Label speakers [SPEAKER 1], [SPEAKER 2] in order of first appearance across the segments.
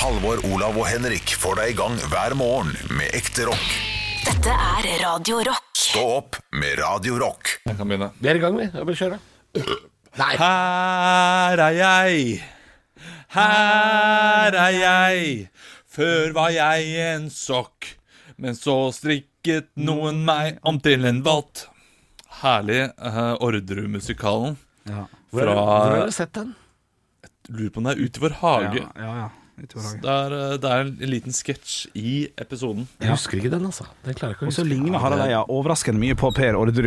[SPEAKER 1] Halvor, Olav og Henrik får deg i gang hver morgen med ekte rock.
[SPEAKER 2] Dette er Radio Rock.
[SPEAKER 1] Stå opp med Radio Rock.
[SPEAKER 3] Jeg kan begynne.
[SPEAKER 4] Vi er i gang, vi. Jeg vil kjøre. Nei.
[SPEAKER 3] Her er jeg, her er jeg. Før var jeg en sokk, men så strikket noen meg om til en valt. Herlig. eh, Orderud-musikalen.
[SPEAKER 4] Hvor har du- hvor har du sett den?
[SPEAKER 3] Lurer på om det er ute i vår hage.
[SPEAKER 5] Ja, ja. Ute på dagen.
[SPEAKER 3] Det er, eh, det er en liten sketsj i episoden.
[SPEAKER 4] Jeg husker ikke den, altså. Den klarer jeg ikke å
[SPEAKER 5] Og så
[SPEAKER 4] huske.
[SPEAKER 5] ligner Harald Eia overraskende mye på Per Orderud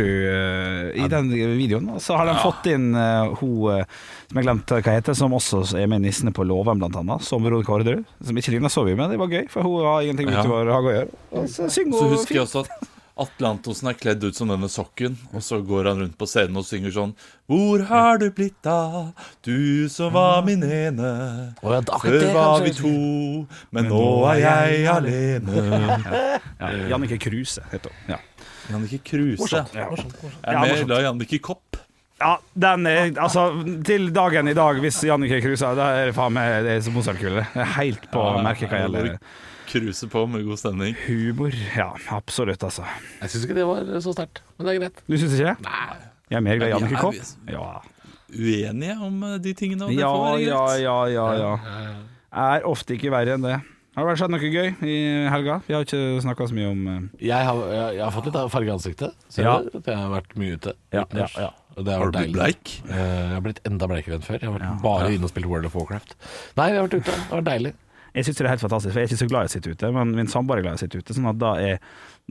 [SPEAKER 5] eh, i den videoen. Og så har de fått inn eh, hun eh, som jeg glemte hva heter, som også er med i Nissene på låven, blant annet. Som Veronica Orderud. Som ikke ligner så mye, men det var gøy, for hun har ingenting med
[SPEAKER 3] Ja.
[SPEAKER 5] ute i vår hage å gjøre. Og så
[SPEAKER 3] Så
[SPEAKER 5] synger hun
[SPEAKER 3] husker jeg
[SPEAKER 5] fint.
[SPEAKER 3] også at Atle Antonsen er kledd ut som denne sokken, og så går han rundt på scenen og synger sånn Hvor har du blitt av, du som var min ene?
[SPEAKER 4] Å, ja, da-
[SPEAKER 3] Før
[SPEAKER 4] det
[SPEAKER 3] var vi
[SPEAKER 4] kanskje-
[SPEAKER 3] to, men nå er jeg alene.
[SPEAKER 5] Ja,
[SPEAKER 3] eh,
[SPEAKER 5] Jannicke Kruse heter hun. Ja.
[SPEAKER 3] Jannicke Kruse. Jeg er
[SPEAKER 5] Ja,
[SPEAKER 3] mer
[SPEAKER 5] morsomt.
[SPEAKER 3] glad i Jannicke Kopp.
[SPEAKER 5] ja, den er Altså, til dagen i dag, hvis Jannicke Kruse Da er det faen meg det er som Mozart-kule. Det er Helt på merket hva gjelder
[SPEAKER 3] Kruse på med god stemning.
[SPEAKER 5] humor. Ja, absolutt, altså.
[SPEAKER 4] Jeg syns ikke det var så sterkt, men det er greit.
[SPEAKER 5] Du syns ikke det?
[SPEAKER 4] Nei.
[SPEAKER 5] Jeg er mer glad i
[SPEAKER 3] Ja,
[SPEAKER 5] Jannicke Kopp.
[SPEAKER 3] visst.
[SPEAKER 5] Ja.
[SPEAKER 3] Uenige om eh, de tingene. Og det får
[SPEAKER 5] Ja,
[SPEAKER 3] være
[SPEAKER 5] ja,
[SPEAKER 3] greit.
[SPEAKER 5] ja, ja, ja. Er ofte ikke verre enn det. Har det skjedd noe gøy i helga? Vi har ikke snakka så mye om eh,
[SPEAKER 4] Jeg har, jeg, jeg har fått litt av farge i ansiktet. Ser
[SPEAKER 5] Ja.
[SPEAKER 4] du at jeg har vært mye ute.
[SPEAKER 5] Ja, ja, ja.
[SPEAKER 4] Og det har
[SPEAKER 3] Har
[SPEAKER 4] vært
[SPEAKER 3] du blitt
[SPEAKER 4] deilig.
[SPEAKER 3] bleik?
[SPEAKER 4] Eh, Jeg har blitt enda bleikere enn før. Jeg har vært bare inne og spilt World of Warcraft. Nei, jeg har vært ute. Det har vært deilig.
[SPEAKER 5] Jeg syns det er helt fantastisk, for jeg er ikke så glad i å sitte ute, men min samboer er glad i å sitte ute. Sånn at da, er,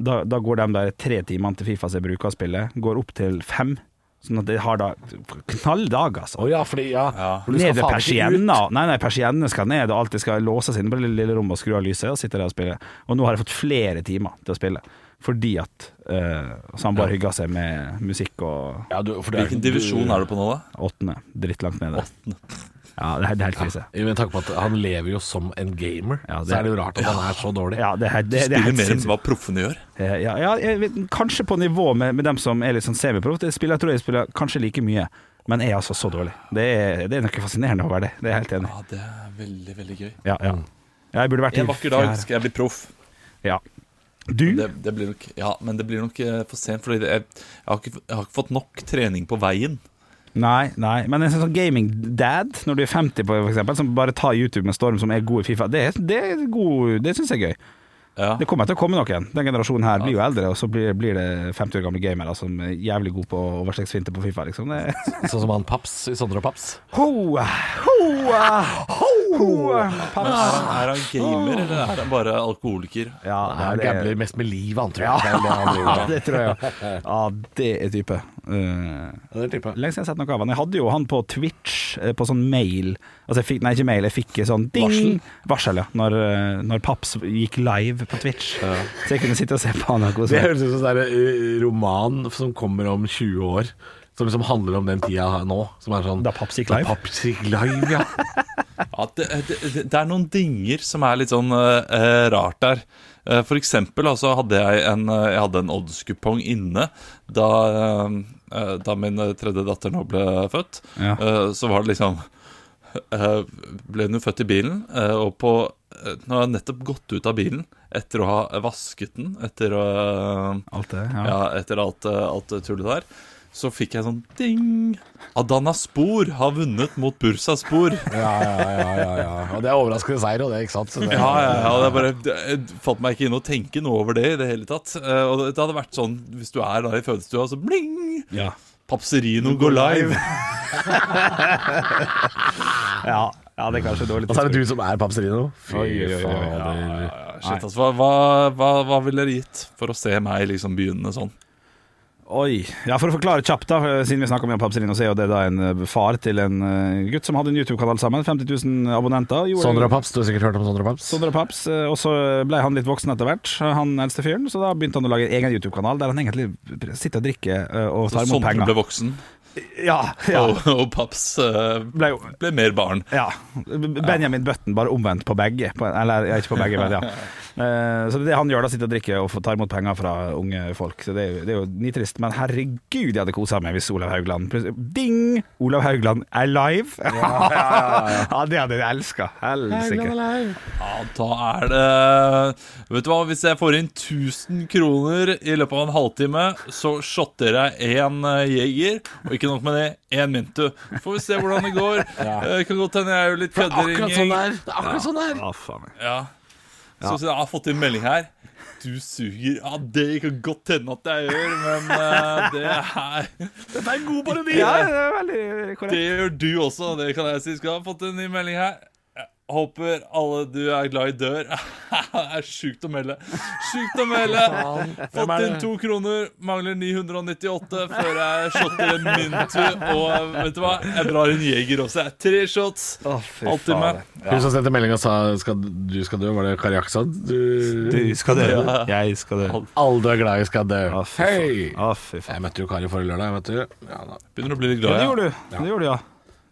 [SPEAKER 5] da, da går de der tre timene til Fifa som jeg bruker å spille, går opp til fem. Sånn at jeg har da knalldag, altså.
[SPEAKER 4] Å ja, fordi ja.
[SPEAKER 3] Ja.
[SPEAKER 4] For du skal
[SPEAKER 5] Ned
[SPEAKER 4] faen
[SPEAKER 5] ved
[SPEAKER 4] ikke ut.
[SPEAKER 5] persiennene. Nei, nei, persiennene skal ned, og alt det skal låses inne på det lille rommet og skru av lyset, og sitte der og spille. Og nå har jeg fått flere timer til å spille, fordi at eh, samboer hygger seg med musikk og
[SPEAKER 4] Ja, du, for du
[SPEAKER 3] Hvilken divisjon er du på nå, da?
[SPEAKER 5] Åttende. Drittlangt nede. Ja, det er, det er helt krise.
[SPEAKER 4] Ja, Med tanke på at han lever jo som en gamer,
[SPEAKER 5] Ja, det-
[SPEAKER 4] så er det jo rart at han er så dårlig.
[SPEAKER 5] Ja, det er, helt- det, det er
[SPEAKER 3] Spiller
[SPEAKER 5] helt
[SPEAKER 3] mer enn
[SPEAKER 5] sinnssykt.
[SPEAKER 3] hva proffene gjør.
[SPEAKER 5] Eh, Ja, ja, jeg vet, kanskje på nivå med, med dem som er litt sånn semiproff. Jeg, spiller- jeg tror jeg spiller kanskje like mye, men er altså så dårlig. Det er, det er noe fascinerende over det. Det er jeg helt enig i.
[SPEAKER 3] Ja, Det er veldig, veldig gøy.
[SPEAKER 5] Ja, ja. Jeg burde vært i
[SPEAKER 3] En vakker dag
[SPEAKER 5] fjerde.
[SPEAKER 3] skal jeg bli proff.
[SPEAKER 5] Ja. Du?
[SPEAKER 3] Det, det blir nok, ja, men det blir nok eh, for sent, Fordi det, jeg, jeg, har ikke, jeg har ikke fått nok trening på veien.
[SPEAKER 5] Nei, nei. Men en sånn gaming-dad, når du er 50 på for eksempel, som bare tar YouTube med storm, som er god i Fifa, det, er- det, er god- det syns jeg er gøy.
[SPEAKER 3] Ja.
[SPEAKER 5] Det kommer til å komme noen. Den generasjonen her blir jo eldre, og så blir, blir det 50 år gamle gamere som er jævlig gode på overstegsfinte på Fifa, liksom. Det
[SPEAKER 4] Sånn som han Paps i Sondre og Paps.
[SPEAKER 5] Hoa, hoa, hoa.
[SPEAKER 3] Men er han, er han gamer, eller er han bare alkoholiker?
[SPEAKER 5] Ja,
[SPEAKER 4] Han
[SPEAKER 5] det er
[SPEAKER 4] gambler mest med livet, han tror jeg. Det er det han driver
[SPEAKER 5] ja,
[SPEAKER 4] med.
[SPEAKER 5] det tror jeg jo. Ja, det er type. Uh,
[SPEAKER 4] Ja, det tipper jeg.
[SPEAKER 5] lenge siden jeg har sett noe av han. Jeg hadde jo han på Twitch, eh, på sånn mail Altså, jeg fikk, nei, ikke mail, jeg fikk sånn ding
[SPEAKER 3] Varsel?
[SPEAKER 5] Varsel, ja. Når, eh, når Paps gikk live på Twitch. Så jeg kunne sitte og se på han og kose
[SPEAKER 4] Det
[SPEAKER 5] meg.
[SPEAKER 4] høres ut som en sånn der, eh, roman som kommer om 20 år. Som liksom handler om den tida her nå. Som er sånn
[SPEAKER 5] Da Paps gikk live.
[SPEAKER 4] Da Paps gikk live, ja.
[SPEAKER 3] Ja, det, det, det er noen dinger som er litt sånn eh, eh, rart der. Eh, for eksempel altså, hadde jeg en, eh, jeg hadde en oddskupong inne da, eh, eh, da min eh, tredje datter nå ble født.
[SPEAKER 5] Ja.
[SPEAKER 3] Eh, så var det liksom eh, Ble hun jo født i bilen, eh, og på eh, Nå har jeg nettopp gått ut av bilen etter å ha vasket den etter å eh,
[SPEAKER 5] Alt det, ja.
[SPEAKER 3] ja, etter alt, eh, alt det tullet der. Så fikk jeg sånn ding! Adana Spor har vunnet mot Bursa Spor.
[SPEAKER 4] Ja, ja, ja, ja, ja. Og det er overraskende seier, og det, ikke sant? Så det,
[SPEAKER 3] Ja, ja, ja, det er bare, jeg fant meg ikke inn å tenke noe over det i det hele tatt. Eh, Og det hadde vært sånn, hvis du er der i fødestua, så bling!
[SPEAKER 5] Ja.
[SPEAKER 3] Papserino går live!
[SPEAKER 5] Ja, ja, det er kanskje dårlig
[SPEAKER 4] Og så er det du som er Papserino.
[SPEAKER 5] Oi, oi, oi, oi.
[SPEAKER 4] fader.
[SPEAKER 3] Shit, altså, hva, hwa, hva, hva ville dere gitt for å se meg liksom begynne sånn?
[SPEAKER 5] Oi. Ja, for å forklare kjapt, da, for siden vi snakker om Jan Papselino, så er jo det da en eh, far til en eh, gutt som hadde en YouTube-kanal sammen. 50 000 abonnenter. Gjorde-
[SPEAKER 4] Sondre og Paps, du har sikkert hørt om Sondre og Paps?
[SPEAKER 5] Sondre Paps. eh, Og så ble han litt voksen etter hvert, han eldste fyren. Så da begynte han å lage en egen YouTube-kanal der han egentlig sitter og drikker eh, og
[SPEAKER 3] Så
[SPEAKER 5] tar imot
[SPEAKER 3] Sondre Sånn ble
[SPEAKER 5] penger.
[SPEAKER 3] voksen.
[SPEAKER 5] Ja, ja.
[SPEAKER 3] Og, og paps eh,
[SPEAKER 5] Ble jo
[SPEAKER 3] ble mer barn.
[SPEAKER 5] Ja. Benjamin Button, bare omvendt på begge. På, eller ja, ikke på begge, men ja. Eh, Så det han gjør da, sitter og drikker og får ta imot penger fra unge folk. Så det er, jo- det er jo nitrist. Men herregud, jeg hadde kosa meg hvis Olav Haugland plutselig Ding! Olav Haugland er live! Ja, det hadde jeg elska. Helsike.
[SPEAKER 3] Ja, da er det Vet du hva, hvis jeg får inn 1000 kroner i løpet av en halvtime, så shotter jeg én Jeger, og ikke nok med det, én Mintu. Får vi se hvordan det går. Eh, Kan godt hende jeg er jo litt
[SPEAKER 4] Akkurat sånn
[SPEAKER 3] køddering.
[SPEAKER 4] der. Det er Akkurat sånn der.
[SPEAKER 5] Ja, faen meg.
[SPEAKER 3] Ja. Så, så jeg har fått inn melding her. Du suger. Ja, det kan godt hende at jeg gjør, men eh, det er
[SPEAKER 4] Dette er god parodi.
[SPEAKER 5] Ja, det er veldig korrekt.
[SPEAKER 3] Det gjør du også, det kan jeg si. Skal ha fått en ny melding her. Jeg Håper alle du er glad i dør. Det er sjukt å melde. Sjukt å melde! Fått inn to kroner, mangler 998 før jeg shotter en Mintu. Og vet du hva, jeg drar en Jeger også. jeg. Tre shots.
[SPEAKER 5] Å, fy
[SPEAKER 3] Halvtime.
[SPEAKER 5] faen.
[SPEAKER 4] Hun som sendte melding og sa skal, du skal dø, var det Kari Aksan? Du,
[SPEAKER 5] Du skal dø. Jeg skal dø.
[SPEAKER 4] alle du er glad i, skal dø.
[SPEAKER 5] Å, fy faen.
[SPEAKER 4] Hei!
[SPEAKER 5] Å, fy faen.
[SPEAKER 4] Jeg møtte jo Kari forrige lørdag. Vet du. Ja, da.
[SPEAKER 3] Begynner å bli litt
[SPEAKER 5] Ja,
[SPEAKER 3] glad,
[SPEAKER 5] det
[SPEAKER 3] jeg.
[SPEAKER 5] gjorde du. Det gjorde du, ja.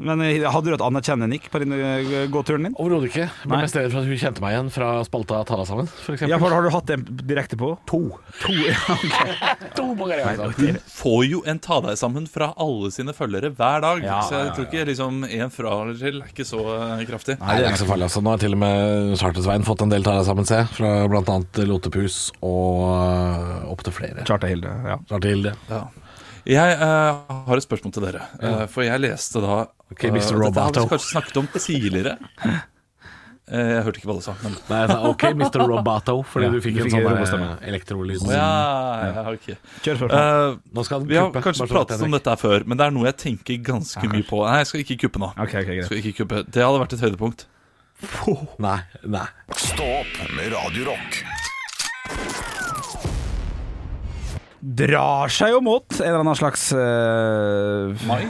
[SPEAKER 5] Men eh, hadde du et anerkjennende nikk på den eh, gåturen din?
[SPEAKER 4] Overhodet ikke. Jeg ble
[SPEAKER 5] Nei.
[SPEAKER 4] mest redd for at hun kjente meg igjen fra spalta Tala sammen, f.eks.
[SPEAKER 5] Ja, for har du hatt en direkte på? To. ja.
[SPEAKER 4] to altså. på Kari Aksan.
[SPEAKER 3] får jo en ta deg sammen fra alle sine følgere hver dag.
[SPEAKER 4] Ja,
[SPEAKER 3] så jeg
[SPEAKER 4] ja, ja.
[SPEAKER 3] tror ikke liksom en fra eller til er ikke så eh, kraftig.
[SPEAKER 4] Nei, det er ikke så farlig. altså Nå har til og med Charter-Svein fått en del Tara sammen, se. Fra bl.a. Lotepus og øh, opptil flere.
[SPEAKER 5] Charterhilde. Ja.
[SPEAKER 4] Charter-Hilde.
[SPEAKER 3] Ja. Jeg eh, har et spørsmål til dere. Eh, for jeg leste da
[SPEAKER 4] Ok,
[SPEAKER 3] eh,
[SPEAKER 4] Mr.
[SPEAKER 3] Dette har
[SPEAKER 4] Roboto.
[SPEAKER 3] vi kanskje snakket om tidligere. Eh, jeg hørte ikke hva du sa. Men,
[SPEAKER 4] Nei, jeg sa OK, Mr. Robato, fordi
[SPEAKER 5] Ja,
[SPEAKER 4] du fikk
[SPEAKER 5] du
[SPEAKER 4] en
[SPEAKER 5] fikk
[SPEAKER 4] sånn
[SPEAKER 5] robostemme.
[SPEAKER 4] øh, elektrolyd.
[SPEAKER 3] ja, ja, ok.
[SPEAKER 5] Kjør spørsmål.
[SPEAKER 3] Eh,
[SPEAKER 4] Nå skal han
[SPEAKER 3] vi har
[SPEAKER 4] kuppe,
[SPEAKER 3] kanskje
[SPEAKER 4] bare så
[SPEAKER 3] pratet
[SPEAKER 4] jeg
[SPEAKER 3] om
[SPEAKER 4] tenker.
[SPEAKER 3] dette her før, men det er noe jeg tenker ganske mye på. Nei, jeg skal ikke kuppe nå.
[SPEAKER 5] Ok, ok, greit.
[SPEAKER 3] Skal ikke kuppe. Det hadde vært et høydepunkt.
[SPEAKER 4] Nei, nei.
[SPEAKER 1] Stå opp med Radio Rock.
[SPEAKER 5] Drar seg jo mot en eller annen slags eh,
[SPEAKER 3] Mai?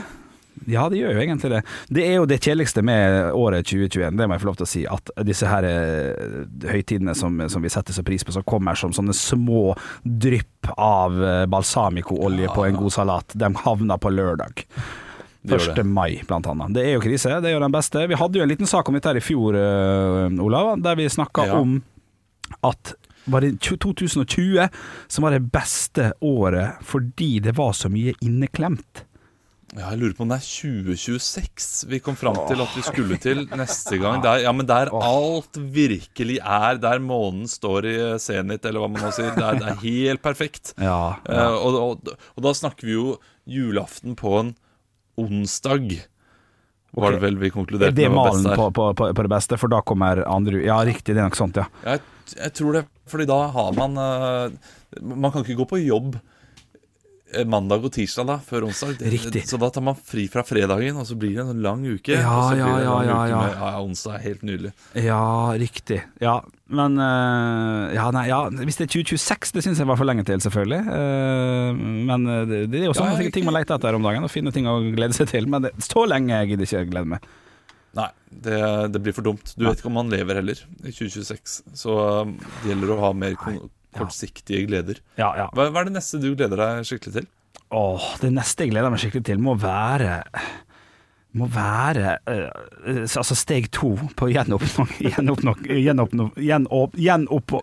[SPEAKER 5] Ja, det gjør jo egentlig det. Det er jo det kjedeligste med året 2021, det må jeg få lov til å si. At disse her eh, høytidene som, som vi setter så pris på, som kommer som sånne små drypp av eh, balsamicoolje på en god salat, de havner på lørdag. 1. mai, blant annet. Det er jo krise, det er jo den beste. Vi hadde jo en liten sak om dette her i fjor, eh, Olav, der vi snakka
[SPEAKER 3] Ja.
[SPEAKER 5] om at var det 2020 som var det beste året fordi det var så mye inneklemt?
[SPEAKER 3] Ja, jeg lurer på om det er 2026 vi kom fram til at vi skulle til neste gang. Der, ja, men der alt virkelig er, der månen står i eh, senit, eller hva man nå sier. Det er, det er helt perfekt.
[SPEAKER 5] Ja,
[SPEAKER 3] Eh, og, og, og da snakker vi jo julaften på en onsdag, var det vel vi
[SPEAKER 5] Det
[SPEAKER 3] konkluderte
[SPEAKER 5] er det
[SPEAKER 3] med var best
[SPEAKER 5] malen
[SPEAKER 3] der.
[SPEAKER 5] på, på, på, på det beste, for da kommer andre Ja, riktig, det er nok sånt, ja.
[SPEAKER 3] Jeg, jeg tror det, fordi da har man eh, Man kan ikke gå på jobb eh, mandag og tirsdag da, før onsdag. Det-
[SPEAKER 5] Riktig.
[SPEAKER 3] Så da tar man fri fra fredagen, og så blir det en sånn lang uke.
[SPEAKER 5] Ja,
[SPEAKER 3] og så blir det
[SPEAKER 5] ja,
[SPEAKER 3] en
[SPEAKER 5] ja,
[SPEAKER 3] lang
[SPEAKER 5] ja,
[SPEAKER 3] uke
[SPEAKER 5] ja.
[SPEAKER 3] Med, ja, ja, onsdag er helt nydelig.
[SPEAKER 5] Ja, riktig. Ja, men eh, Ja, nei, ja, hvis det er 2026, det syns jeg var for lenge til, selvfølgelig. Eh, men eh, det, det er jo sånne
[SPEAKER 3] Ja,
[SPEAKER 5] ting man leter etter om dagen, å finne ting å glede seg til. Men det, så lenge gidder jeg ikke å glede meg.
[SPEAKER 3] Nei, det, det blir for dumt. Du vet ikke om man lever heller i 2026. Så um, det gjelder å ha mer kon kortsiktige gleder.
[SPEAKER 5] Ja, ja.
[SPEAKER 3] Hva, hva er det neste du gleder deg skikkelig til?
[SPEAKER 5] Åh, det neste jeg gleder meg skikkelig til må være må være eh, eh, altså steg to på gjenoppnå- gjenoppnå- gjenoppnå- gjenopp- Gjenopp...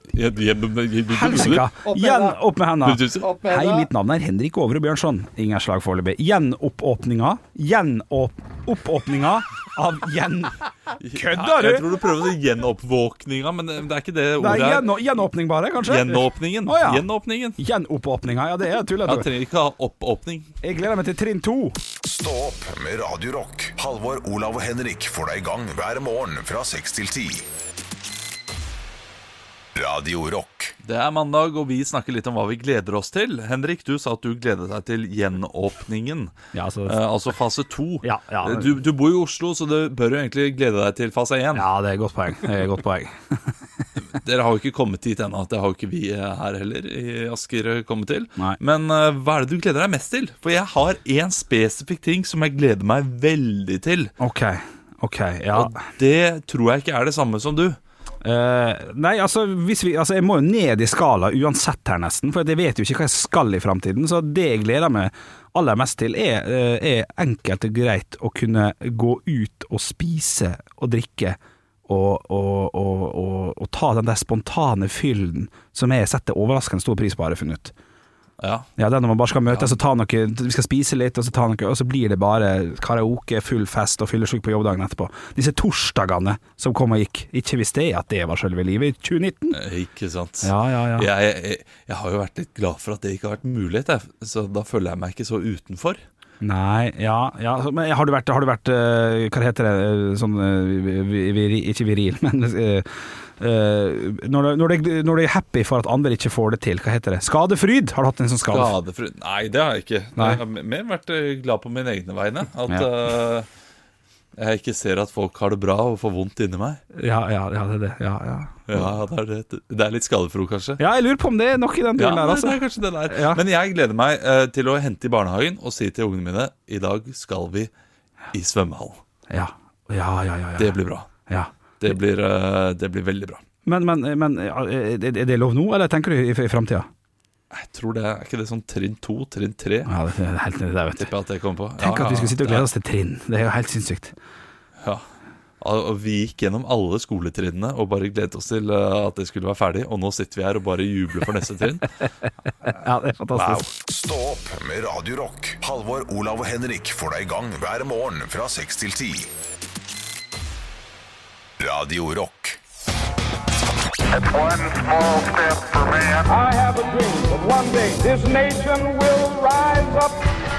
[SPEAKER 5] Helsika! Igjen opp med hendene! Hei, mitt navn er Henrik Overud Bjørnson. Ingen slag foreløpig. Gjenoppåpninga Gjenoppåpninga av gjen...
[SPEAKER 3] Jeg
[SPEAKER 5] Kødder du?!
[SPEAKER 3] tror du prøver å si gjenoppvåkninga, men eh, det det er ikke det
[SPEAKER 5] Det
[SPEAKER 3] ordet.
[SPEAKER 5] er
[SPEAKER 3] er.
[SPEAKER 5] gjenå- gjenåpning, bare, kanskje?
[SPEAKER 3] Gjenåpningen.
[SPEAKER 5] Å, ja.
[SPEAKER 3] Gjenåpningen.
[SPEAKER 5] Gjenoppåpninga, ja det er
[SPEAKER 3] Jeg
[SPEAKER 5] tullete.
[SPEAKER 3] trenger ikke ha oppåpning.
[SPEAKER 5] Jeg gleder meg til trinn to.
[SPEAKER 1] Stå opp med Radio Rock. Halvor, Olav og Henrik får deg i gang hver morgen fra 6 til 10. Radio Rock.
[SPEAKER 3] Det er mandag, og vi snakker litt om hva vi gleder oss til. Henrik, du sa at du gledet deg til gjenåpningen.
[SPEAKER 5] Ja, altså-
[SPEAKER 3] eh, altså fase to.
[SPEAKER 5] Ja, ja.
[SPEAKER 3] Eh, Du, du bor jo i Oslo, så du bør jo egentlig glede deg til fase én.
[SPEAKER 5] Ja, det er et godt poeng. Det er et godt poeng.
[SPEAKER 3] Dere har jo ikke kommet dit ennå. Det har jo ikke vi eh, her heller i Asker eh, kommet til.
[SPEAKER 5] Nei.
[SPEAKER 3] Men eh, hva er det du gleder deg mest til? For jeg har én spesifikk ting som jeg gleder meg veldig til.
[SPEAKER 5] Ok, ok, ja
[SPEAKER 3] Og det tror jeg ikke er det samme som du.
[SPEAKER 5] Eh, nei, altså, hvis vi, altså Jeg må jo ned i skala uansett her, nesten. For at jeg vet jo ikke hva jeg skal i framtiden. Så det jeg gleder meg aller mest til, er, eh, er enkelt og greit å kunne gå ut og spise og drikke. Og, og, og, og, og ta den der spontane fylden som jeg setter overraskende stor pris på, har jeg funnet ut.
[SPEAKER 3] Ja.
[SPEAKER 5] Ja, det er når man bare skal møtes og ta noe Vi skal spise litt, og så, ta noe, og så blir det bare karaoke, full fest og fyllesyk på jobbdagen etterpå. Disse torsdagene som kom og gikk. Ikke visste jeg at det var selve livet i 2019.
[SPEAKER 3] Eh, Ikke sant.
[SPEAKER 5] Ja, ja, ja.
[SPEAKER 3] Jeg, jeg, jeg har jo vært litt glad for at det ikke har vært mulighet, jeg. så da føler jeg meg ikke så utenfor.
[SPEAKER 5] Nei, ja, ja. så- Men har du vært, har du vært eh, Hva heter det eh, sånn eh, vi- viri, Ikke viril, men eh, eh, når, du, når, du, når du er happy for at andre ikke får det til, hva heter det? Skadefryd! Har du hatt en sånn skade?
[SPEAKER 3] Skadefri Nei, det har jeg ikke.
[SPEAKER 5] Nei.
[SPEAKER 3] Jeg har mer vært eh, glad på mine egne vegne. At eh, jeg ikke ser at folk har det bra og får vondt inni meg.
[SPEAKER 5] Ja, ja, ja, det er det. Ja, ja.
[SPEAKER 3] Ja, det er, det. Det er litt skadefro, kanskje.
[SPEAKER 5] ja, jeg lurer på om det er noe i den
[SPEAKER 3] Ja,
[SPEAKER 5] duren der,
[SPEAKER 3] det-
[SPEAKER 5] altså.
[SPEAKER 3] det er kanskje det der.
[SPEAKER 5] Ja.
[SPEAKER 3] Men jeg gleder meg eh, til å hente i barnehagen og si til ungene mine i dag skal vi i svømmehallen.
[SPEAKER 5] Ja, ja, ja. ja, ja.
[SPEAKER 3] Det blir bra.
[SPEAKER 5] ja.
[SPEAKER 3] Det blir, eh, det blir veldig bra.
[SPEAKER 5] Men, men, men er det- er det lov nå, eller tenker du i, i framtida?
[SPEAKER 3] Jeg tror det Er ikke det sånn trinn to, trinn tre?
[SPEAKER 5] Ja, det er helt nede der, vet
[SPEAKER 3] Tipper jeg at jeg kommer på.
[SPEAKER 5] Tenk
[SPEAKER 3] Ja,
[SPEAKER 5] at vi
[SPEAKER 3] ja,
[SPEAKER 5] skulle sitte og
[SPEAKER 3] ja.
[SPEAKER 5] glede oss til trinn. Det er jo helt sinnssykt.
[SPEAKER 3] Ja. Og og vi gikk gjennom alle skoletrinnene og bare gledet oss til eh, at det skulle være ferdig. Og nå sitter vi her og bare jubler for neste trinn.
[SPEAKER 5] Ja, det er fantastisk.
[SPEAKER 1] Stå opp med Radio Rock. Halvor, Olav og Henrik får deg i gang hver morgen fra 6 til 10. Radio Rock.
[SPEAKER 6] One small step for man.
[SPEAKER 7] I have a dream that one day this nation will rise up.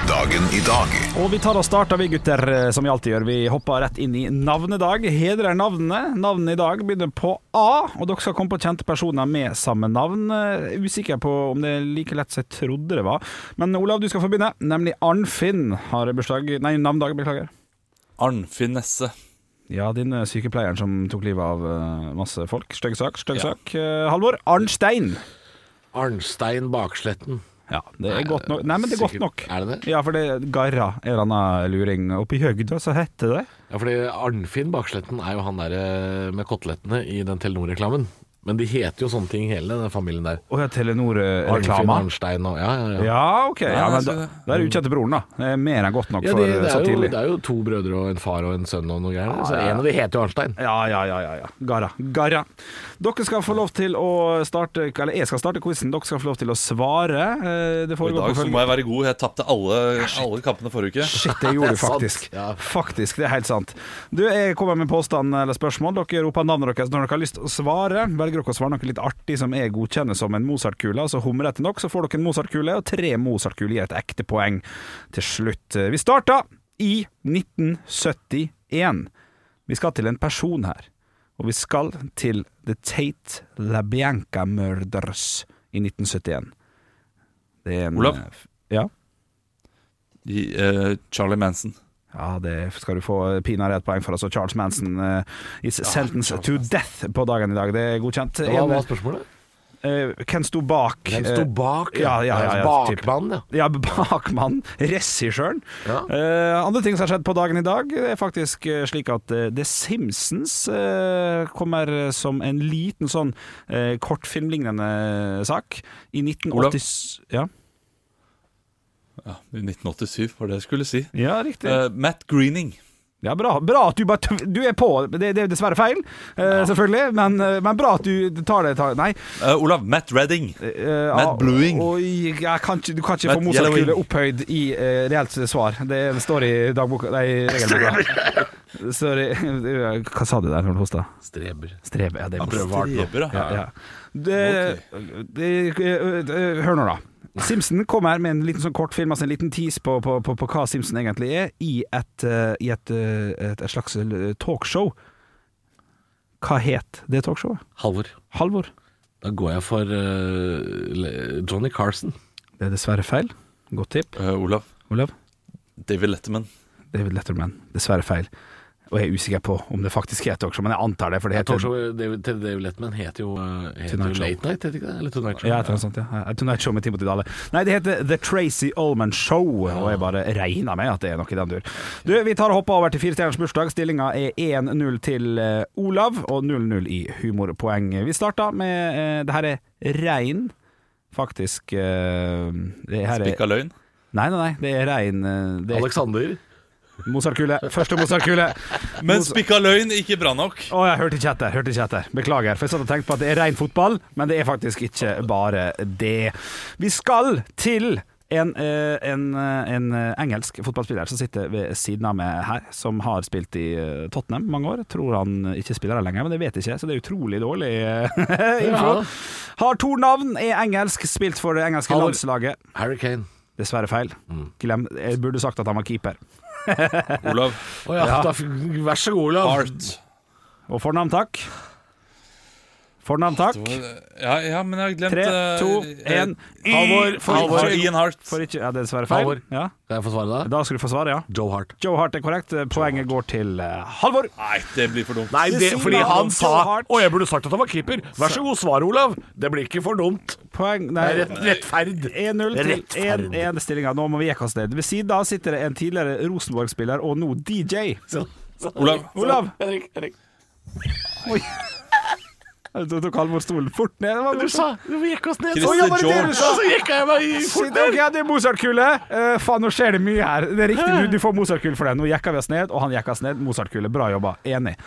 [SPEAKER 1] Dagen i dag.
[SPEAKER 5] Og vi tar og starter, vi gutter, eh, som vi alltid gjør. Vi hopper rett inn i navnedag. Hedrer navnene. Navnene i dag begynner på A, og dere skal komme på kjente personer med samme navn. Eh, Usikker på om det er like lett som jeg trodde det var. Men Olav, du skal få begynne. Nemlig Arnfinn har bursdag Nei, navnedag, beklager.
[SPEAKER 3] Arnfinn Nesse.
[SPEAKER 5] Ja, din eh, sykepleieren som tok livet av eh, masse folk. Stygg sak, stygg
[SPEAKER 3] Ja.
[SPEAKER 5] sak. Eh, Halvor, Arnstein.
[SPEAKER 4] Arnstein Baksletten.
[SPEAKER 5] Ja, det er godt nok. Nei, men det er godt
[SPEAKER 4] sikkert-
[SPEAKER 5] nok.
[SPEAKER 4] er det det?
[SPEAKER 5] Ja, for det er Garra, en eller annen luring. Oppe i Høgda så heter det
[SPEAKER 4] Ja, fordi Arnfinn Baksletten er jo han derre med kotelettene i den Telenor-reklamen. Men de heter jo sånne ting hele den familien der.
[SPEAKER 5] Å ja,
[SPEAKER 4] Arnfinn
[SPEAKER 5] Telenor-reklama.
[SPEAKER 4] Arnstein og Ja, ja, ja.
[SPEAKER 5] Ja, ok. Ja, men da,
[SPEAKER 3] så-
[SPEAKER 5] da er det ukjente broren, da. Det er mer enn godt nok
[SPEAKER 4] Ja,
[SPEAKER 5] for
[SPEAKER 4] de, det,
[SPEAKER 5] så
[SPEAKER 4] er jo,
[SPEAKER 5] tidlig.
[SPEAKER 4] det er jo to brødre og en far og en sønn og noe greier. Så en av de heter jo Arnstein.
[SPEAKER 5] Ja, ja, ja, ja, ja. Garra. Garra. Dere skal få lov til å starte Eller jeg skal starte quizen. Dere skal få lov til å svare. Eh, Det
[SPEAKER 3] Og i
[SPEAKER 5] foregår
[SPEAKER 3] dag
[SPEAKER 5] på
[SPEAKER 3] så
[SPEAKER 5] følge-
[SPEAKER 3] må jeg være god. Jeg tapte alle, alle kampene forrige uke.
[SPEAKER 5] Shit, det
[SPEAKER 4] Det er
[SPEAKER 5] gjorde du
[SPEAKER 4] sant.
[SPEAKER 5] faktisk.
[SPEAKER 4] Ja.
[SPEAKER 5] Faktisk, det er helt sant. Du, Jeg kommer med påstand eh, eller spørsmål. Dere roper navnet deres når dere har lyst til å svare. Velger dere å svare noe litt artig som jeg godkjenner som en Mozart-kule, altså humrete nok, så får dere en Mozart-kule, og tre Mozart-kuler gir et ekte poeng til slutt. eh, Vi starter i 1971. Vi skal til en person her, og vi skal til The Tate LaBianca Murders i 1971. Det er en, eh,
[SPEAKER 3] Olav?
[SPEAKER 5] Ja?
[SPEAKER 3] I, eh, Charlie Manson.
[SPEAKER 5] Ja, det skal du få pinadø et poeng for. Altså Charles Manson eh, is sentenced to death på dagen i dag. Det er godkjent.
[SPEAKER 4] Hva
[SPEAKER 5] En,
[SPEAKER 4] var spørsmålet?
[SPEAKER 5] eh, hvem sto bak?
[SPEAKER 4] Den sto
[SPEAKER 5] eh,
[SPEAKER 4] bak.
[SPEAKER 5] ja, ja, ja, ja,
[SPEAKER 4] Bakmannen, ja.
[SPEAKER 5] ja, bakmannen. Regissøren.
[SPEAKER 4] Ja.
[SPEAKER 5] Eh, andre ting som har skjedd på dagen i dag, er faktisk eh, slik at eh, The Simpsons eh, kommer som en liten sånn eh, kortfilmlignende sak i 1980... Ja.
[SPEAKER 3] Ja, I 1987, var det jeg skulle si.
[SPEAKER 5] ja, riktig.
[SPEAKER 3] Eh, Matt Greening.
[SPEAKER 5] Ja, bra, bra at du bare tv- Du er på. Det, det er dessverre feil, eh, selvfølgelig, men, eh, men bra at du tar det tar, Nei.
[SPEAKER 3] Eh, Olav, Matt Redding.
[SPEAKER 5] eh,
[SPEAKER 3] Matt
[SPEAKER 5] ah,
[SPEAKER 3] Bluing.
[SPEAKER 5] Oi, jeg kan ikke, du kan ikke
[SPEAKER 3] Matt
[SPEAKER 5] få Mozart-kule
[SPEAKER 3] Yellowing.
[SPEAKER 5] opphøyd i eh, reelt svar. Det står i dagboka Nei, i regelboka. Sorry. Hva sa du der når du hosta?
[SPEAKER 4] Streber.
[SPEAKER 5] Streve. Ja, det er
[SPEAKER 4] prøver hardt nå.
[SPEAKER 3] Streber,
[SPEAKER 5] ja, ja. Det, det, eh, eh, hør nå, da. Simpson kommer med en liten sånn kortfilm, altså en liten tease på, på, på, på hva Simpson egentlig er, i et, eh, i et, eh, et, et slags eh, talkshow. Hva het det talkshowet?
[SPEAKER 4] Halvor.
[SPEAKER 5] Halvor?
[SPEAKER 4] Da går jeg for eh, Le- Johnny Carson.
[SPEAKER 5] Det er dessverre feil. Godt tipp.
[SPEAKER 3] Eh, Olav,
[SPEAKER 5] Olav?
[SPEAKER 3] David Letterman.
[SPEAKER 5] David Letterman. Dessverre feil. Og jeg er usikker på om det faktisk er et talkshow, men jeg antar det. For det heter
[SPEAKER 4] Talkshow David, Ted- David Letman heter jo, eh, heter
[SPEAKER 5] eh, Tonight
[SPEAKER 4] jo
[SPEAKER 5] Show.
[SPEAKER 4] Late Night, heter ikke det? Eller Tonight Show.
[SPEAKER 5] ja, jeg tror det er sant, ja. Jeg tror det er et show med Timothy Dale. Nei, det heter The Tracy Ullman Show, og jeg bare regner med at det er noe i den dur. Du, vi tar og hopper over til firestjerners bursdag. Stillinga er 1-0 til eh, Olav, og 0-0 i humorpoeng. Vi starter med eh, Det her er rein, faktisk. eh, det her er,
[SPEAKER 3] Spikka løgn.
[SPEAKER 5] nei, nei, nei. Det er rein eh, det er-
[SPEAKER 4] Alexander.
[SPEAKER 5] Mozartkule. Første Mozartkule.
[SPEAKER 3] Men spikka løgn, ikke bra nok.
[SPEAKER 5] Å, jeg hørte ikke etter. hørte ikke etter Beklager. for Jeg satt og tenkte på at det er ren fotball, men det er faktisk ikke bare det. Vi skal til en, eh, en, eh, en eh, engelsk fotballspiller som sitter ved siden av meg her, som har spilt i eh, Tottenham mange år. Tror han ikke spiller her lenger, men det vet jeg ikke, så det er utrolig dårlig eh, info.
[SPEAKER 4] Ja.
[SPEAKER 5] Har to navn, er engelsk, spilt for det engelske
[SPEAKER 4] Halvor.
[SPEAKER 5] landslaget.
[SPEAKER 4] Harry Kane.
[SPEAKER 5] Dessverre feil. Glem Jeg burde sagt at han var keeper.
[SPEAKER 3] Olav.
[SPEAKER 4] Å ja, da fikk- vær så god, Olav.
[SPEAKER 3] Art.
[SPEAKER 5] Og fornavn, takk. Fornavn, takk.
[SPEAKER 3] Ja, ja, men jeg har glemt
[SPEAKER 5] Tre,
[SPEAKER 3] eh,
[SPEAKER 5] to,
[SPEAKER 3] eh,
[SPEAKER 5] én
[SPEAKER 4] Halvor,
[SPEAKER 3] For,
[SPEAKER 4] Halvor.
[SPEAKER 3] for Ian Hart.
[SPEAKER 5] Får ikke, ja, det er dessverre feil.
[SPEAKER 4] Halvor.
[SPEAKER 5] Ja.
[SPEAKER 4] Kan jeg få svare da?
[SPEAKER 5] Da skal du få svaret, ja.
[SPEAKER 4] Joe Hart.
[SPEAKER 5] Joe Hart er korrekt. Poenget går til eh, Halvor.
[SPEAKER 3] Nei, det blir for dumt.
[SPEAKER 4] Nei, det,
[SPEAKER 5] siden
[SPEAKER 4] fordi
[SPEAKER 5] av
[SPEAKER 4] han
[SPEAKER 5] Joe
[SPEAKER 4] sa
[SPEAKER 5] Hart.
[SPEAKER 4] Og jeg burde sagt at han var keeper. Vær så god, svar, Olav. Det blir ikke for dumt.
[SPEAKER 5] Poeng
[SPEAKER 4] Det
[SPEAKER 5] Nei.
[SPEAKER 4] er rett, rettferd.
[SPEAKER 5] 1-0 til
[SPEAKER 4] Rettferdig.
[SPEAKER 5] 1-1-stillinga. Nå må vi jekke oss ned. Ved siden av sitter det en tidligere Rosenborg-spiller og nå DJ.
[SPEAKER 4] Så- så-
[SPEAKER 3] Olav.
[SPEAKER 5] Olav!
[SPEAKER 4] Henrik, Henrik.
[SPEAKER 5] Du tok Halvor stolen fort ned. Det var
[SPEAKER 4] Du
[SPEAKER 5] morsomt.
[SPEAKER 4] sa Du gikk oss ned.
[SPEAKER 3] Christer
[SPEAKER 4] Å, ja, var det det du
[SPEAKER 3] George.
[SPEAKER 4] sa? Så gikk jeg meg i
[SPEAKER 5] Shit,
[SPEAKER 4] fort
[SPEAKER 5] ok,
[SPEAKER 4] ned.
[SPEAKER 5] det er Mozart-kule. Eh, faen, nå skjer det mye her. Det er riktig, du, du får Mozart-kule for det. Nå jekka vi oss ned, og han jekka oss ned. Mozart-kule, bra jobba. Enig.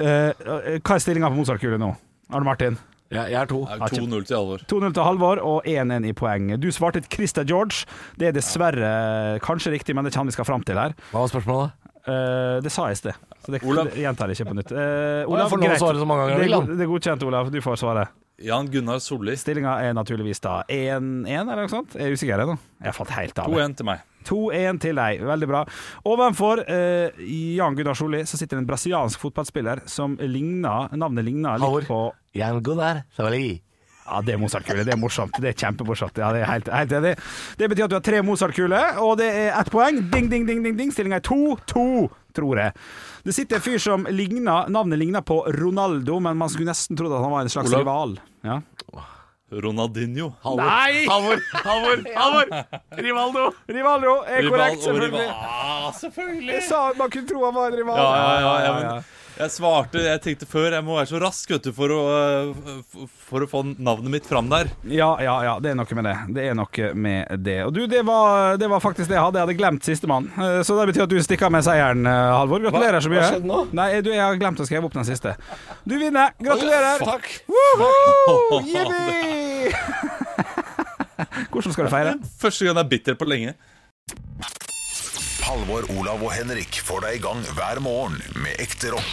[SPEAKER 5] Eh, eh, hva er stillinga på Mozart-kule nå? Arne Martin?
[SPEAKER 4] Ja, jeg er to.
[SPEAKER 3] Det er 2-0 til Halvor.
[SPEAKER 5] 2-0 til Halvor og 1-1 i poeng. Du svarte et Christer George. Det er dessverre eh, kanskje riktig, men det er ikke han vi skal fram til her.
[SPEAKER 4] Hva var spørsmålet?
[SPEAKER 5] Eh, det sa jeg i sted, så det,
[SPEAKER 3] Olav.
[SPEAKER 5] det gjentar jeg ikke på nytt. Eh, Olav,
[SPEAKER 4] Jeg får lov å
[SPEAKER 5] greit.
[SPEAKER 4] svare så mange ganger
[SPEAKER 5] det,
[SPEAKER 4] jeg
[SPEAKER 5] er
[SPEAKER 4] vil,
[SPEAKER 5] go- det er godkjent, Olav. Du får svare.
[SPEAKER 3] Jan Gunnar Solli.
[SPEAKER 5] Stillinga er naturligvis da 1-1, eller noe sånt. Jeg er usikker ennå. Jeg falt helt av.
[SPEAKER 3] 2-1 til meg.
[SPEAKER 5] 2-1 til deg. Veldig bra. Ovenfor eh, Jan Gunnar Solli så sitter det en brasiliansk fotballspiller som ligner, navnet ligner
[SPEAKER 4] Halvor.
[SPEAKER 5] litt på
[SPEAKER 4] Jan Gunnar Savali.
[SPEAKER 5] Ja, det er Mozart-kule. Det er morsomt. Det er kjempemorsomt. Ja, det er helt, helt enig. Det betyr at du har tre Mozart-kuler, og det er ett poeng. Ding, ding, ding, ding, ding. Stillinga er 2-2, tror jeg. Det sitter en fyr som ligner Navnet ligner på Ronaldo, men man skulle nesten trodd at han var en slags
[SPEAKER 3] Olav.
[SPEAKER 5] rival. Ja.
[SPEAKER 3] Ronaldinho.
[SPEAKER 4] Halvor.
[SPEAKER 5] Nei!
[SPEAKER 4] Halvor! Halvor! Halvor! Rivaldo!
[SPEAKER 5] Rivaldo er
[SPEAKER 3] og
[SPEAKER 5] korrekt, selvfølgelig.
[SPEAKER 3] Ah, selvfølgelig.
[SPEAKER 5] Jeg sa man kunne tro han var en rival.
[SPEAKER 3] Ja, ja, ja, ja, men jeg svarte Jeg tenkte før Jeg må være så rask vet du, for, å, øh, f- for å få navnet mitt fram der.
[SPEAKER 5] Ja, ja, ja, det er noe med det. Det er noe med det. Og du, det var, det var faktisk det jeg hadde. Jeg hadde glemt sistemann. Eh, Så det betyr at du stikker av med seieren, eh, Halvor. Gratulerer så mye.
[SPEAKER 4] Hva skjedde nå?
[SPEAKER 5] Nei, du, jeg har glemt å skrive opp den siste. Du vinner. Gratulerer.
[SPEAKER 4] Takk.
[SPEAKER 5] Woho! Jippi! Hvordan skal du feire?
[SPEAKER 3] Første gang jeg er bitter på lenge.
[SPEAKER 1] Halvor, Olav og Henrik får deg i gang hver morgen med ekte rock.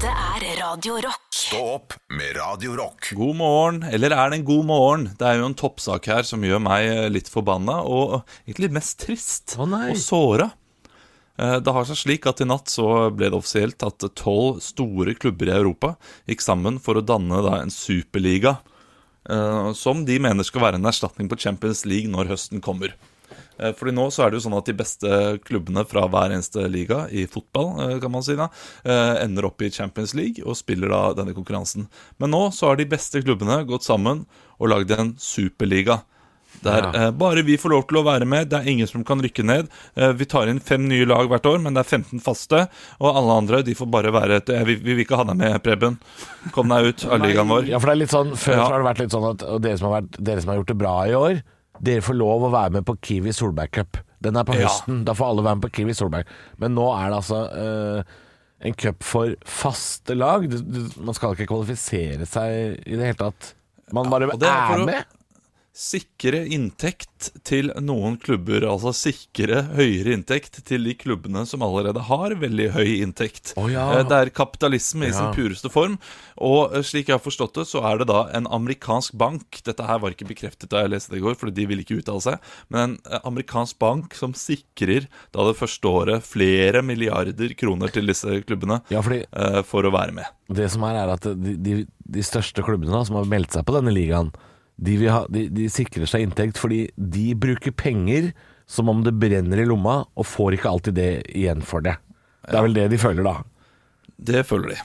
[SPEAKER 2] Dette er Radio Rock.
[SPEAKER 1] Stå opp med Radio Rock.
[SPEAKER 3] God morgen. Eller er det en god morgen? Det er jo en toppsak her som gjør meg eh, litt forbanna, og egentlig mest trist
[SPEAKER 4] Å, nei.
[SPEAKER 3] og såra. Eh, Det har seg slik at i natt så ble det offisielt at tolv store klubber i Europa gikk sammen for å danne da en superliga, eh, som de mener skal være en erstatning på Champions League når høsten kommer. Eh, Fordi nå så er det jo sånn at de beste klubbene fra hver eneste liga i fotball eh, kan man si da, eh, ender opp i Champions League og spiller da denne konkurransen. Men nå så har de beste klubbene gått sammen og lagd en superliga. Der
[SPEAKER 4] Ja.
[SPEAKER 3] eh, bare vi får lov til å være med, det er ingen som kan rykke ned. Eh, vi tar inn fem nye lag hvert år, men det er 15 faste. Og alle andre de får bare være et eh, vi, vi vil ikke ha deg med, Preben. Kom deg ut av ligaen vår.
[SPEAKER 4] Ja, for det er litt sånn, Før
[SPEAKER 3] Ja.
[SPEAKER 4] så har det vært litt sånn at og dere, som har vært, dere som har gjort det bra i år, dere får lov å være med på Kiwi Solberg Cup. Den er på
[SPEAKER 3] Ja.
[SPEAKER 4] høsten, da får alle være med på Kiwi Solberg. Men nå er det altså eh, en cup for faste lag. Du, du, man skal ikke kvalifisere seg i det hele tatt. Man bare
[SPEAKER 3] og det
[SPEAKER 4] er,
[SPEAKER 3] er for å-
[SPEAKER 4] med.
[SPEAKER 3] Sikre inntekt til noen klubber, altså sikre høyere inntekt til de klubbene som allerede har veldig høy inntekt.
[SPEAKER 4] Å, ja.
[SPEAKER 3] Eh, Det er kapitalisme i sin
[SPEAKER 4] Ja.
[SPEAKER 3] pureste form. Og eh, slik jeg har forstått det, så er det da en amerikansk bank Dette her var ikke bekreftet da jeg leste det i går, for de ville ikke uttale seg. Men en eh, amerikansk bank som sikrer da det første året flere milliarder kroner til disse klubbene
[SPEAKER 4] Ja, fordi
[SPEAKER 3] eh, for å være med.
[SPEAKER 4] Det som er, er at de, de, de største klubbene da, som har meldt seg på denne ligaen, de, vil ha, de, de sikrer seg inntekt fordi de bruker penger som om det brenner i lomma, og får ikke alltid det igjen for det. Det er vel det de føler, da.
[SPEAKER 3] Det føler de.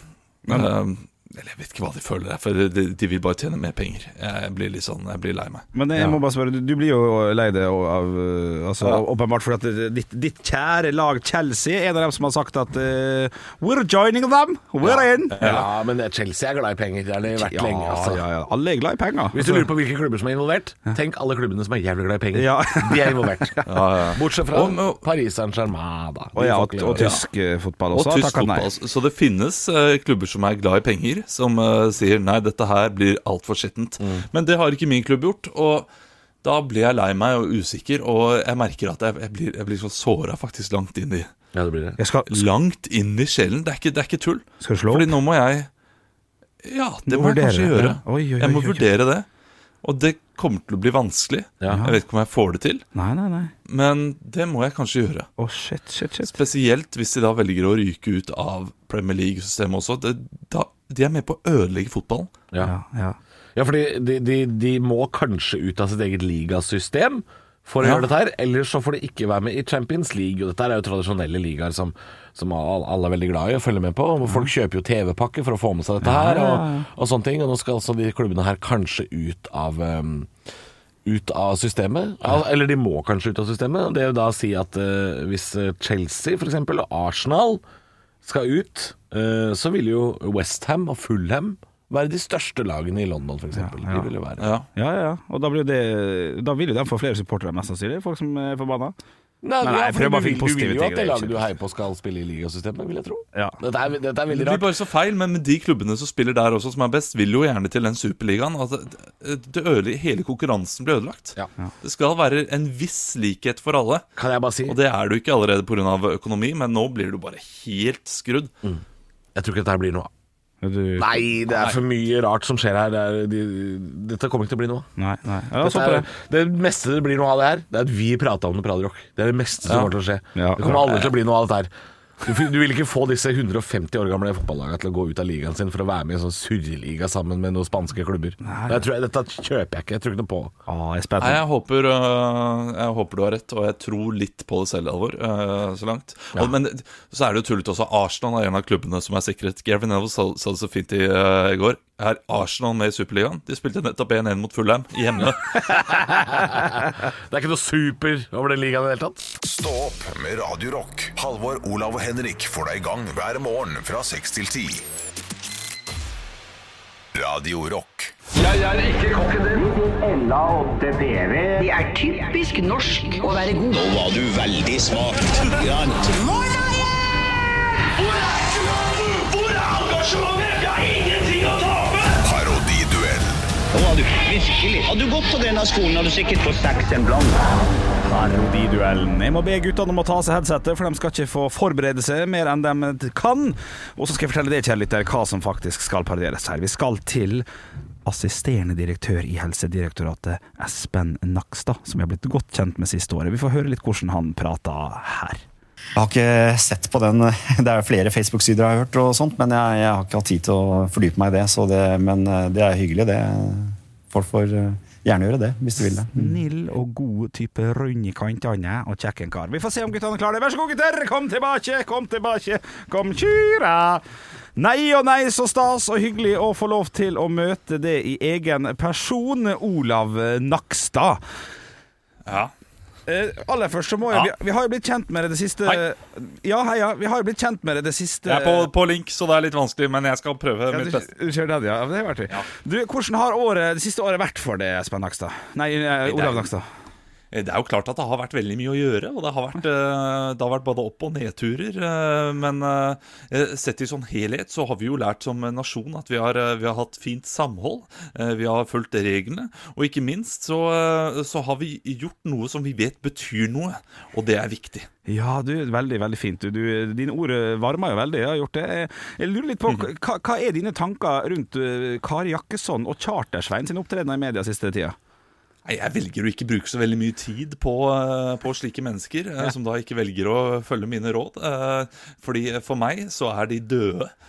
[SPEAKER 3] Eh, eller jeg vet ikke hva de føler, for de, de vil bare tjene mer penger. Jeg blir litt sånn, jeg blir lei meg.
[SPEAKER 5] Men jeg må bare spørre, du, du blir jo lei deg av- av eh, altså, Åpenbart fordi at det- ditt, ditt kjære lag Chelsea er en av dem som har sagt at eh, We're joining them! We're in!
[SPEAKER 4] Ja, men Chelsea er glad i penger. Det har de vært lenge. altså.
[SPEAKER 5] ja, ja. Alle er glad i penger. Altså,
[SPEAKER 4] Hvis du lurer på hvilke klubber som er involvert, tenk alle klubbene som er jævlig glad i penger.
[SPEAKER 5] Ja.
[SPEAKER 4] De er involvert. Bortsett fra
[SPEAKER 3] Og- og-
[SPEAKER 4] Paris Saint-Germain, da.
[SPEAKER 5] og, ja,
[SPEAKER 4] De får
[SPEAKER 5] og,
[SPEAKER 4] ikke lov.
[SPEAKER 5] og tysk eh, fotball
[SPEAKER 3] Og
[SPEAKER 5] også.
[SPEAKER 3] tysk
[SPEAKER 5] takket nei.
[SPEAKER 3] fotball. Så det finnes eh, klubber som er glad i penger, som eh, sier nei, dette her blir altfor skittent.
[SPEAKER 5] Mm.
[SPEAKER 3] Men det har ikke min klubb gjort. Og da blir jeg lei meg og usikker, og jeg merker at jeg, jeg, blir, jeg blir så såra faktisk langt inn i
[SPEAKER 4] Ja, det blir det.
[SPEAKER 5] Jeg skal,
[SPEAKER 3] Langt inn i sjelen. Det er ikke, det er ikke tull.
[SPEAKER 5] Skal du slå opp?
[SPEAKER 3] Fordi nå må jeg Ja, det må
[SPEAKER 5] Du
[SPEAKER 3] jeg
[SPEAKER 5] vurderer
[SPEAKER 3] kanskje
[SPEAKER 5] det.
[SPEAKER 3] gjøre.
[SPEAKER 5] Ja. Oi, oi,
[SPEAKER 3] jeg må
[SPEAKER 5] oi, oi.
[SPEAKER 3] vurdere det. Og det kommer til å bli vanskelig.
[SPEAKER 4] Ja.
[SPEAKER 3] Jeg vet ikke om jeg får det til,
[SPEAKER 5] Nei, nei, nei.
[SPEAKER 3] men det må jeg kanskje gjøre.
[SPEAKER 5] Å, shit, shit, shit.
[SPEAKER 3] Spesielt hvis de da velger å ryke ut av Premier League-systemet også. Det, da, de er med på å ødelegge fotballen.
[SPEAKER 4] Ja.
[SPEAKER 5] Ja, ja.
[SPEAKER 4] Ja, fordi de, de, de må kanskje ut av sitt eget ligasystem for å
[SPEAKER 3] Ja.
[SPEAKER 4] gjøre dette her, ellers så får de ikke være med i Champions League. Og dette her er jo tradisjonelle ligaer som, som all- alle er veldig glad i å følge med på. og Folk kjøper jo TV-pakke for å få med seg dette her og, og sånne ting. Og nå skal altså de klubbene her kanskje ut av ehm, ut av systemet, Al- eller de må kanskje ut av systemet. og Det er jo da å si at eh, hvis eh, Chelsea f.eks. og Arsenal skal ut, eh, så vil jo Westham og Fulham være de største lagene i London, f.eks. eksempel De vil jo være
[SPEAKER 3] Ja.
[SPEAKER 5] Ja, ja, ja. Og da, blir jo det, da vil jo de få flere supportere, mest sannsynlig. Folk som er forbanna.
[SPEAKER 4] Nei,
[SPEAKER 5] Nei,
[SPEAKER 4] ja,
[SPEAKER 5] jeg
[SPEAKER 4] for
[SPEAKER 5] prøver bare å
[SPEAKER 4] du vil-
[SPEAKER 5] finne positive
[SPEAKER 4] Du vil jo
[SPEAKER 5] ting
[SPEAKER 4] at
[SPEAKER 5] i
[SPEAKER 4] det
[SPEAKER 5] det,
[SPEAKER 4] laget du
[SPEAKER 5] ikke
[SPEAKER 4] heier på skal spille i ligasystemet, vil jeg tro.
[SPEAKER 5] Ja.
[SPEAKER 4] Dette, er, dette er
[SPEAKER 3] Det
[SPEAKER 4] veldig
[SPEAKER 3] blir
[SPEAKER 4] rart.
[SPEAKER 3] bare så feil, men med de klubbene som spiller der også, som er best, vil jo gjerne til den superligaen. Altså, det- det ødele- hele konkurransen blir ødelagt.
[SPEAKER 4] Ja. Ja.
[SPEAKER 3] Det skal være en viss likhet for alle.
[SPEAKER 4] Kan jeg bare si
[SPEAKER 3] Og det er du ikke allerede pga. økonomi, men nå blir du bare helt skrudd.
[SPEAKER 5] Mhm.
[SPEAKER 4] Jeg tror ikke dette her blir noe av.
[SPEAKER 5] Du,
[SPEAKER 4] Nei, det er for mye rart som skjer her. Det er, de, dette kommer ikke til å bli noe av.
[SPEAKER 5] nei, nei. Ja, la oss
[SPEAKER 4] Dette
[SPEAKER 5] håpe
[SPEAKER 4] er,
[SPEAKER 5] det.
[SPEAKER 4] det meste det blir noe av det her, det er at vi prater om det på Radio Rock. Det er det meste som
[SPEAKER 3] Ja.
[SPEAKER 4] kommer til å skje.
[SPEAKER 5] Ja.
[SPEAKER 4] Det kommer aldri til å bli noe av dette her. Du, f- du vil ikke få disse 150 år gamle fotballagene til å gå ut av ligaen sin for å være med i en sånn surreliga sammen med noen spanske klubber. Det tror jeg, dette kjøper jeg ikke. Jeg tror ikke noe på.
[SPEAKER 5] Å, jeg er spent.
[SPEAKER 3] Nei, jeg håper, øh, jeg håper du har rett, og jeg tror litt på det selv, Alvor, øh, så langt. Og, men så er det jo tullete også. Arsenal er en av klubbene som er sikret. Gavin Neville sa sa det så fint i, øh, i går. Er Arsenal med i Superligaen? De spilte nettopp 1-1 mot Fulham hjemme.
[SPEAKER 4] Det er ikke noe super over den ligaen i det hele tatt.
[SPEAKER 1] Stå opp med Radio Rock. Halvor, Olav og Henrik får deg i gang hver morgen fra 6 til 10. Radio Rock.
[SPEAKER 8] Det er typisk norsk å være god. Nå var du veldig smart.
[SPEAKER 9] Hvor er engasjementet? Hvor er engasjementet? Vi har ingenting å tape!
[SPEAKER 1] Parodiduell.
[SPEAKER 8] Nå var du virkelig. Hadde du gått på denne skolen, hadde du sikkert fått seks en blant.
[SPEAKER 5] Parodiduellen. Jeg må be guttene om å ta av seg headsetet, for de skal ikke få forberede seg mer enn de kan. Og så skal jeg fortelle deg, kjære lytter, hva som faktisk skal parodieres her. Vi skal til assisterende direktør i Helsedirektoratet, Espen Nakstad, som jeg har blitt godt kjent med siste året. Vi får høre litt hvordan han prater her.
[SPEAKER 10] Jeg har ikke sett på den. Det er flere Facebook-sider jeg har hørt, og sånt, men jeg, jeg har ikke hatt tid til å fordype meg i det, så det. Men eh, det er hyggelig, det. Folk får eh, gjerne gjøre det, hvis de vil det.
[SPEAKER 5] Snill og god type rund i kantene og kjekken kar. Vi får se om guttene klarer det. Vær så god, gutter! Kom tilbake, kom tilbake, kom kyra! Nei og nei, så stas og hyggelig å få lov til å møte det i egen person, Olav Nakstad.
[SPEAKER 3] Ja.
[SPEAKER 5] Eh, aller først så må jeg
[SPEAKER 3] Ja.
[SPEAKER 5] vi, vi har jo blitt kjent med det det siste
[SPEAKER 3] Hei.
[SPEAKER 5] Ja, hei, ja. Vi har jo blitt kjent med det det siste
[SPEAKER 3] Jeg er på, på link, så det er litt vanskelig, men jeg skal prøve
[SPEAKER 5] ja,
[SPEAKER 3] mitt
[SPEAKER 5] du,
[SPEAKER 3] beste.
[SPEAKER 5] du kjører den, ja. Ja, Det er artig. Du, hvordan har året, det siste året vært for deg, Espen Nakstad? Nei, eh, Olav Nakstad.
[SPEAKER 3] Eh, Det er jo klart at det har vært veldig mye å gjøre, og det har vært, øh, det har vært både opp- og nedturer. øh, Men øh, sett i sånn helhet så har vi jo lært som nasjon at vi har, øh, vi har hatt fint samhold. øh, Vi har fulgt reglene, og ikke minst så, øh, så har vi gjort noe som vi vet betyr noe, og det er viktig.
[SPEAKER 5] Ja, du, veldig, veldig fint. Du, du, dine ord eh, varmer jo veldig. Jeg har gjort det. Jeg- Jeg lurer litt på, hva, hva er dine tanker rundt eh, Kari Jakkesson og Chartersvein sin opptredener i media siste tida?
[SPEAKER 3] Nei, Jeg velger å ikke bruke så veldig mye tid på, eh, på slike mennesker, eh, som da ikke velger å følge mine råd. eh, Fordi for meg så er de døde.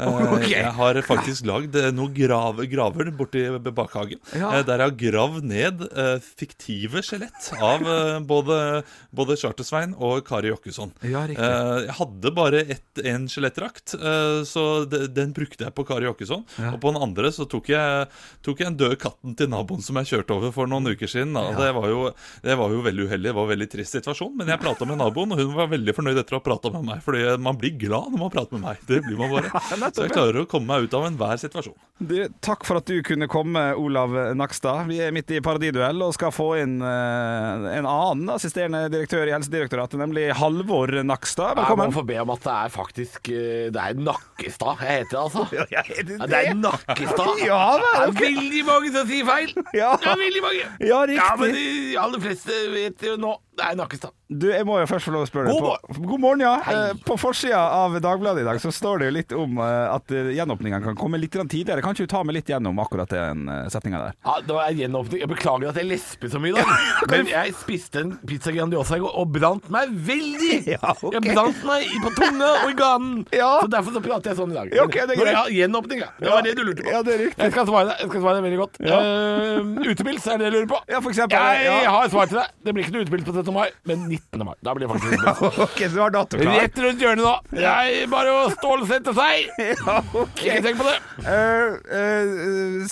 [SPEAKER 3] Eh, Jeg har faktisk lagd eh, noen grave, graver borti bakhagen.
[SPEAKER 4] Ja.
[SPEAKER 3] eh, Der jeg har gravd ned eh, fiktive skjelett av eh, både, både Chartersvein og Kari Jokkesson.
[SPEAKER 4] Ja, riktig.
[SPEAKER 3] Eh, Jeg hadde bare ett- en skjelettdrakt, eh, så de- den brukte jeg på Kari Jokkesson. Og på den andre så tok jeg, tok jeg en død katten til naboen som jeg kjørte over for noen uker siden. Da. Det, var jo, det var jo veldig uheldig, det var en veldig trist situasjon, men jeg prata med naboen, og hun var veldig fornøyd etter å ha prata med meg. Fordi man blir glad når man prater med meg. Det blir man bare. Så jeg klarer å komme meg ut av enhver situasjon.
[SPEAKER 5] Du, takk for at du kunne komme, Olav Nakstad. Vi er midt i paradiduell og skal få inn eh, en annen assisterende direktør i Helsedirektoratet, nemlig Halvor Nakstad.
[SPEAKER 4] Jeg må
[SPEAKER 5] Velkommen.
[SPEAKER 4] få be om at det er faktisk eh, Det er Nakkestad jeg heter, altså.
[SPEAKER 5] Ja, ja, er det
[SPEAKER 4] Ja, Det er
[SPEAKER 5] det?
[SPEAKER 4] Nakkestad.
[SPEAKER 5] Ja vel,
[SPEAKER 4] Det er veldig mange som sier feil.
[SPEAKER 5] Ja.
[SPEAKER 4] Det er veldig mange.
[SPEAKER 5] Ja,
[SPEAKER 4] Ja, men
[SPEAKER 5] riktig.
[SPEAKER 4] de aller fleste vet jo nå Det er Nakkestad.
[SPEAKER 5] Du, jeg må jo først få lov å spørre
[SPEAKER 4] God
[SPEAKER 5] deg på God morgen, ja. Eh, På forsida av Dagbladet i dag så står det jo litt om eh, at eh, gjenåpningen kan komme litt grann tidligere. Kan ikke du ta meg litt gjennom akkurat den eh, setningen der?
[SPEAKER 4] Ja, det var en gjenåpning. Jeg beklager at jeg lesper så mye, da. Men jeg spiste en pizza Grandiosa i går og brant meg veldig.
[SPEAKER 5] Ja, ok.
[SPEAKER 4] Jeg brant meg i- på tunga og i ganen.
[SPEAKER 5] Ja.
[SPEAKER 4] Så derfor så prater jeg sånn i dag.
[SPEAKER 5] Ja, ok, det er
[SPEAKER 4] Men
[SPEAKER 5] greit.
[SPEAKER 4] Ja, gjenåpning, ja. Det var det du lurte på.
[SPEAKER 5] Ja, det er riktig.
[SPEAKER 4] Jeg skal svare deg, jeg skal svare deg veldig godt. Eh, utepils er det jeg lurer på.
[SPEAKER 5] Ja, for eksempel,
[SPEAKER 4] jeg
[SPEAKER 5] ja.
[SPEAKER 4] har et svar til deg. Det blir ikke noe utepils på 17. mai, men 19. mai. Da blir det faktisk utepils.
[SPEAKER 5] Ok, så du har dato klar.
[SPEAKER 4] Rett rundt hjørnet nå. Jeg bare å stålsette seg.
[SPEAKER 5] Ja, ok.
[SPEAKER 4] Ikke tenk på det.
[SPEAKER 5] Eh, eh,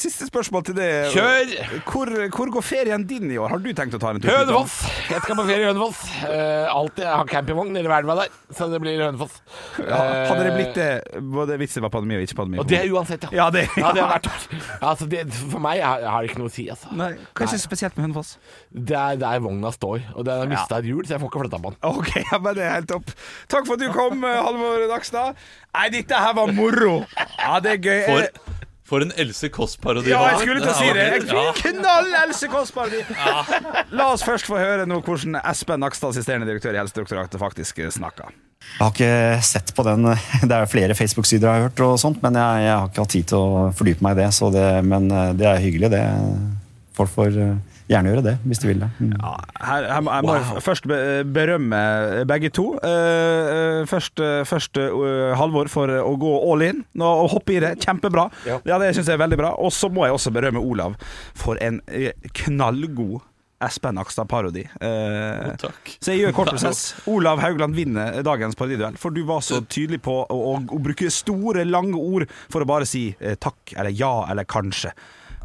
[SPEAKER 5] siste spørsmål til det.
[SPEAKER 4] Kjør!
[SPEAKER 5] Hvor, hvor går ferien din i år? Har du tenkt å ta en tur? til
[SPEAKER 4] Hønefoss! Jeg skal på ferie i Hønefoss. Uh, alltid, jeg har campingvogn nede ved elva der, så det blir Hønefoss.
[SPEAKER 5] utlandet? Ja, hadde det blitt det både hvis det var pandemi og ikke pandemi?
[SPEAKER 4] Eh. Og det er uansett, ja.
[SPEAKER 5] Ja, det-
[SPEAKER 4] ja, det har vært altså, det, For meg jeg, jeg har det ikke noe å si, altså.
[SPEAKER 5] Nei, kanskje spesielt med Hønefoss.
[SPEAKER 4] Det er der vogna står, og den har mista et hjul, så jeg får ikke flytta på den.
[SPEAKER 5] Ok, ja, men det er helt topp. Takk for at du kom, eh, Halvor Nakstad. Nei, dette her var moro! Ja, det er gøy. Eh,
[SPEAKER 3] For, for en Else Kåss-parodi.
[SPEAKER 5] ja,
[SPEAKER 3] det
[SPEAKER 5] jeg
[SPEAKER 3] var.
[SPEAKER 5] skulle til å si
[SPEAKER 3] Ja,
[SPEAKER 5] det. Jeg
[SPEAKER 3] ja.
[SPEAKER 5] Knall Else Kåss Parodi! La oss først få høre nå hvordan Espen Nakstad, assisterende direktør i Helsedirektoratet, faktisk eh, snakker.
[SPEAKER 10] Jeg har ikke sett på den Det er flere Facebook-sider jeg har hørt, og sånt, men jeg, jeg har ikke hatt tid til å fordype meg i det. Så det men eh, det er hyggelig, det. Folk får eh, gjerne gjøre det, hvis de vil det. Mm.
[SPEAKER 5] Ja, her, her må jeg må jeg først be- berømme begge to. Eh, eh, Først, eh, først eh, Halvor for å gå all in nå, og hoppe i det. Kjempebra. Ja,
[SPEAKER 4] Ja.
[SPEAKER 5] Det syns jeg er veldig bra. Og så må jeg også berømme Olav for en eh, knallgod Espen Akstad-parodi. Eh,
[SPEAKER 3] Takk. altså.
[SPEAKER 5] så jeg gjør kort prosess. Olav Haugland vinner dagens parodiduell, for du var så tydelig på å, å, å bruke store, lange ord for å bare si eh, takk eller ja eller kanskje.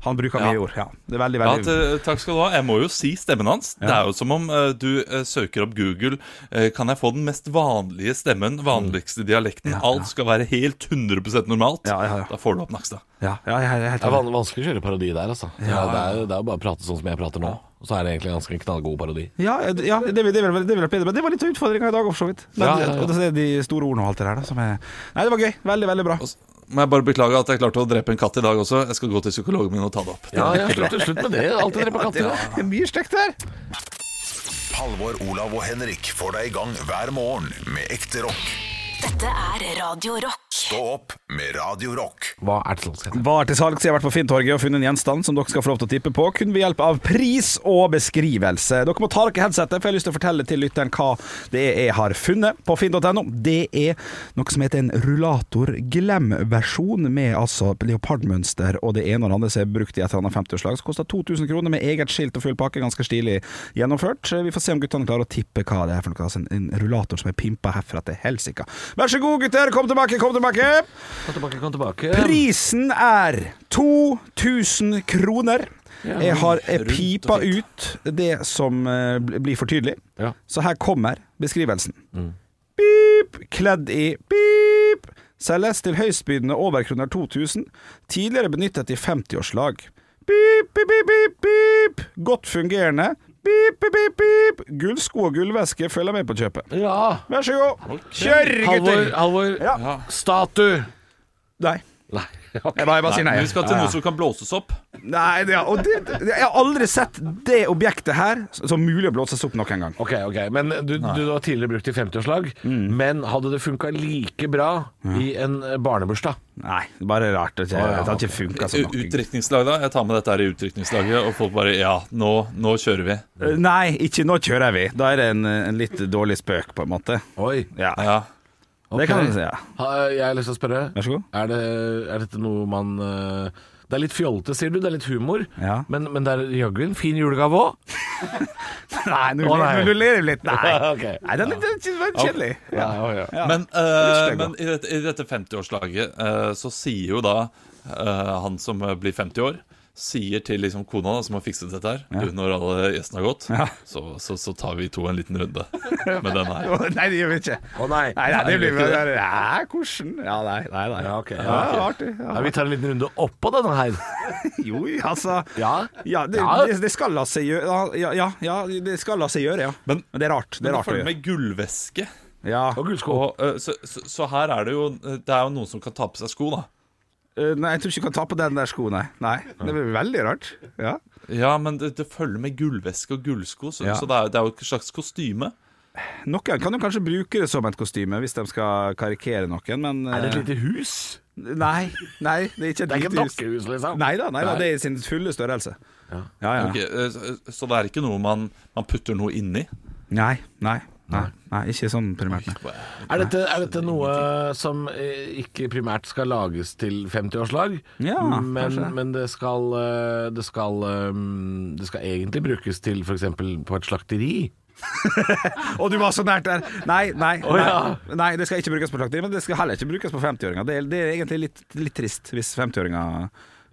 [SPEAKER 5] Han bruker mye
[SPEAKER 3] Ja.
[SPEAKER 5] ord. Ja, det er veldig,
[SPEAKER 3] Ja, eh,
[SPEAKER 5] veldig
[SPEAKER 3] t- takk skal du ha. Jeg må jo si stemmen hans. Det er jo som om eh, du eh, søker opp Google. eh, kan jeg få den mest vanlige stemmen,
[SPEAKER 5] Mm.
[SPEAKER 3] vanligste dialekten? Alt skal være helt 100 normalt.
[SPEAKER 5] Ja, ja, ja.
[SPEAKER 3] Da får du opp Nakstad.
[SPEAKER 5] ja, ja, jeg er helt
[SPEAKER 4] Det er
[SPEAKER 5] enig.
[SPEAKER 4] van- vanskelig å kjøre parodi der, altså. Ja, det, er, det er jo bare å prate sånn som jeg prater nå. Og så er det egentlig en ganske knallgod parodi.
[SPEAKER 5] Ja, ja, det, det, vil- det, vil- det vil jeg pede, men det var litt av utfordringa i dag, for så vidt. Men,
[SPEAKER 4] Ja, ja, ja.
[SPEAKER 5] Og det er de store ordene og alt det der, da, som er Nei, det var gøy. Veldig, veldig bra.
[SPEAKER 3] Og så må jeg bare beklage at jeg klarte å drepe en katt i dag også. Jeg skal gå til psykologen min og ta det opp.
[SPEAKER 4] Ja, ja, slutt, slutt med det. Alltid drepe katter. da.
[SPEAKER 5] Det er mye stygt her.
[SPEAKER 1] Halvor, Olav og Henrik får deg i gang hver morgen med ekte rock.
[SPEAKER 2] Dette er Radio Rock.
[SPEAKER 1] Stå opp med Radio Rock.
[SPEAKER 4] Hva er det som skal
[SPEAKER 5] Var til salgs. Jeg har vært på Finntorget og funnet en gjenstand som dere skal få lov til å tippe på, kun ved hjelp av pris og beskrivelse. Dere må ta dere headsetet, for jeg har lyst til å fortelle til lytteren hva det er jeg har funnet på finn.no. Det er noe som heter en rullator glem-versjon, med altså leopardmønster og det ene og det andre som er brukt i et eller annet 50-årslag. Så koster 2000 kroner med eget skilt og full pakke. Ganske stilig gjennomført. Vi får se om guttene klarer å tippe hva det er for noe. Altså en, en rullator som er pimpa herfra til helsika. Vær så god, gutter! Kom tilbake, kom tilbake!
[SPEAKER 4] Kom tilbake, kom tilbake.
[SPEAKER 5] Prisen er 2000 kroner. Jeg har eh,
[SPEAKER 3] rundt og
[SPEAKER 5] pipa
[SPEAKER 3] fint.
[SPEAKER 5] ut det som eh, bl- blir for tydelig.
[SPEAKER 4] Ja.
[SPEAKER 5] Så her kommer beskrivelsen. Pip, kledd i pip. Selges til høystbydende over kroner 2000. Tidligere benyttet i 50-årslag. Pip, pip, pip, pip, pip. Godt fungerende. Pip, pip, pip, pip. Gullsko og gullveske følger med på kjøpet.
[SPEAKER 4] ja.
[SPEAKER 5] Vær så god. Kjør,
[SPEAKER 4] Halvor,
[SPEAKER 5] gutter!
[SPEAKER 4] Halvor.
[SPEAKER 5] Ja.
[SPEAKER 4] Statue.
[SPEAKER 5] Nei.
[SPEAKER 4] Nei.
[SPEAKER 5] Jeg bare, jeg bare sier nei.
[SPEAKER 3] Men vi skal til noe som kan blåses opp.
[SPEAKER 5] Nei, det, og det, det, jeg har aldri sett det objektet her som mulig å blåses opp nok en gang.
[SPEAKER 4] Ok, ok, men du, du har tidligere brukt i 50-årslag,
[SPEAKER 5] Mm.
[SPEAKER 4] men hadde det funka like bra i en eh, barnebursdag?
[SPEAKER 5] Nei, det er bare rart. Det, det har ikke funka som nok.
[SPEAKER 3] Utdrikningslag, Eh, da? Jeg tar med dette her i utdrikningslaget, og folk bare Ja, nå, nå kjører vi.
[SPEAKER 5] Eh, Nei, ikke nå kjører vi. Da er det en, en litt dårlig spøk, på en måte.
[SPEAKER 4] Oi.
[SPEAKER 5] Ja.
[SPEAKER 3] Ja.
[SPEAKER 4] Å
[SPEAKER 5] Det kan du si, ja.
[SPEAKER 4] Ha, jeg har lyst til å spørre.
[SPEAKER 5] Vær så god.
[SPEAKER 4] Er, det, er dette noe man eh, Det er litt fjolte, sier du. Det er litt humor.
[SPEAKER 5] Ja.
[SPEAKER 4] Men, men det er jaggu en fin julegave òg.
[SPEAKER 5] Nei, nå
[SPEAKER 4] Å, nei.
[SPEAKER 5] ler- nå ler du litt. Nei,
[SPEAKER 4] Ok.
[SPEAKER 5] nei den er den er kjedelig. Ja. Ja.
[SPEAKER 3] Men, eh,
[SPEAKER 5] stygg, da.
[SPEAKER 3] men i dette, i dette 50-årslaget eh, så sier jo da eh, han som eh, blir 50 år Sier til liksom kona da, som har fikset dette her Du, når alle gjestene har gått
[SPEAKER 5] Ja.
[SPEAKER 3] så, så, så tar vi to en liten runde Med denne her
[SPEAKER 5] Å, Nei, det gjør vi ikke.
[SPEAKER 4] Å nei.
[SPEAKER 5] Nei, nei,
[SPEAKER 4] vi
[SPEAKER 5] det blir
[SPEAKER 4] gjør ikke
[SPEAKER 5] bare Hæ, hvordan? Ja, nei, nei. nei.
[SPEAKER 4] Ja, ok, ja,
[SPEAKER 5] Ja,
[SPEAKER 4] ok.
[SPEAKER 5] artig.
[SPEAKER 4] Ja,
[SPEAKER 5] Ja.
[SPEAKER 4] vi tar en liten runde oppå denne her.
[SPEAKER 5] Jo, altså
[SPEAKER 4] Ja.
[SPEAKER 5] Ja, det,
[SPEAKER 4] Ja.
[SPEAKER 5] Det, det skal la seg gjøre. Ja, ja, ja, det skal la seg gjøre, ja. Men,
[SPEAKER 3] Men-
[SPEAKER 5] det er rart. Det
[SPEAKER 3] Men
[SPEAKER 5] er
[SPEAKER 3] det
[SPEAKER 5] rart å
[SPEAKER 3] følger
[SPEAKER 5] gjøre.
[SPEAKER 3] med gullveske
[SPEAKER 5] Ja.
[SPEAKER 4] Og gullsko.
[SPEAKER 3] og, eh, så, så, så her er det jo Det er jo noen som kan ta på seg sko da
[SPEAKER 5] Eh, Nei, jeg tror ikke du kan ta på den der skoen, nei. nei. Det blir veldig rart. Ja.
[SPEAKER 3] Ja, men det, det følger med gullveske og gullsko Så,
[SPEAKER 5] Ja.
[SPEAKER 3] så det, er, det er jo et slags kostyme
[SPEAKER 5] Noen kan jo kanskje bruke det som et kostyme hvis de skal karikere noen, men
[SPEAKER 4] Er det et
[SPEAKER 5] eh,
[SPEAKER 4] lite hus?
[SPEAKER 5] Nei, nei, det er ikke et
[SPEAKER 4] Det er ikke et
[SPEAKER 5] lite hus.
[SPEAKER 4] dokkehus, liksom?
[SPEAKER 5] Nei da, nei da, det er i sin fulle størrelse. Ja, ja.
[SPEAKER 3] Ok, eh, så, så det er ikke noe man, man putter noe inni
[SPEAKER 5] Nei, nei, nei, nei, ikke sånn primært. Nei.
[SPEAKER 4] Er dette, er dette noe som eh, ikke primært skal lages til 50-årslag,
[SPEAKER 5] Ja,
[SPEAKER 4] men,
[SPEAKER 5] kanskje.
[SPEAKER 4] men det, skal, eh, det, skal, eh, det skal egentlig brukes til f.eks. på et slakteri?
[SPEAKER 5] Å, du var så nært der! Nei, nei, nei,
[SPEAKER 4] ja.
[SPEAKER 5] nei det skal ikke brukes på slakteri, men det skal heller ikke brukes på 50-åringer. Det, er- det er egentlig litt, litt trist hvis 50-åringer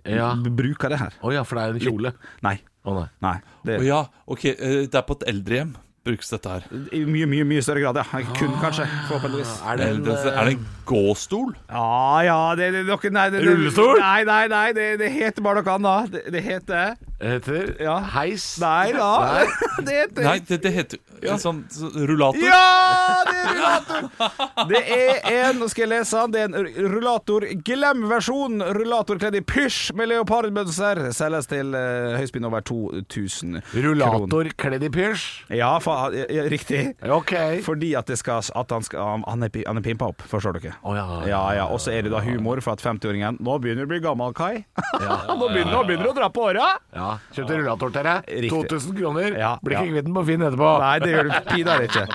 [SPEAKER 4] Ja.
[SPEAKER 5] b- bruker det her.
[SPEAKER 4] Å ja, for det er en kjole.
[SPEAKER 5] Nei.
[SPEAKER 4] Å nei.
[SPEAKER 5] nei det
[SPEAKER 3] Å
[SPEAKER 5] er
[SPEAKER 3] ja, ok, eh, det er på et eldrehjem brukes dette her.
[SPEAKER 5] i mye, mye mye større grad, ja.
[SPEAKER 3] Ah.
[SPEAKER 5] Kun kanskje, forhåpentligvis.
[SPEAKER 4] Er det
[SPEAKER 3] Er
[SPEAKER 4] en,
[SPEAKER 3] det, er det en gåstol?
[SPEAKER 5] Ja, ja, det er noe nei, det, det,
[SPEAKER 4] Rullestol?
[SPEAKER 5] Nei, nei, nei, det, det heter bare noe annet. Det, det heter
[SPEAKER 4] eh, heter
[SPEAKER 5] Ja.
[SPEAKER 4] heis?
[SPEAKER 5] Nei da! Det heter
[SPEAKER 3] Nei, det, det heter ja. sånn så- rullator.
[SPEAKER 5] Ja, det er rullator! Det er en Nå skal jeg lese den. Det er en rullator Glem-versjon. Rullator kledd i pysj med leopardmønster. Selges til eh, høyspinn over 2000 kroner.
[SPEAKER 4] Rullator kledd i pysj?
[SPEAKER 5] Ja, fa ja, ja, riktig.
[SPEAKER 4] Ok.
[SPEAKER 5] Fordi at, det skal, at han, skal, um, han, er, pi- han er pimpa opp, forstår dere.
[SPEAKER 4] Å ja.
[SPEAKER 5] Ja, ja, Og så er det da humor for at 50-åringen Nå begynner du å bli gammel, Kai. Nå begynner nå begynner du å dra på åra!
[SPEAKER 4] ja. Kjøpte rullator til deg.
[SPEAKER 5] Riktig.
[SPEAKER 4] 2000 kroner.
[SPEAKER 5] Ja,
[SPEAKER 4] Blir
[SPEAKER 5] ja.
[SPEAKER 4] ikke kvitt den på Finn etterpå.
[SPEAKER 5] Nei, det gjør du pinadø ikke.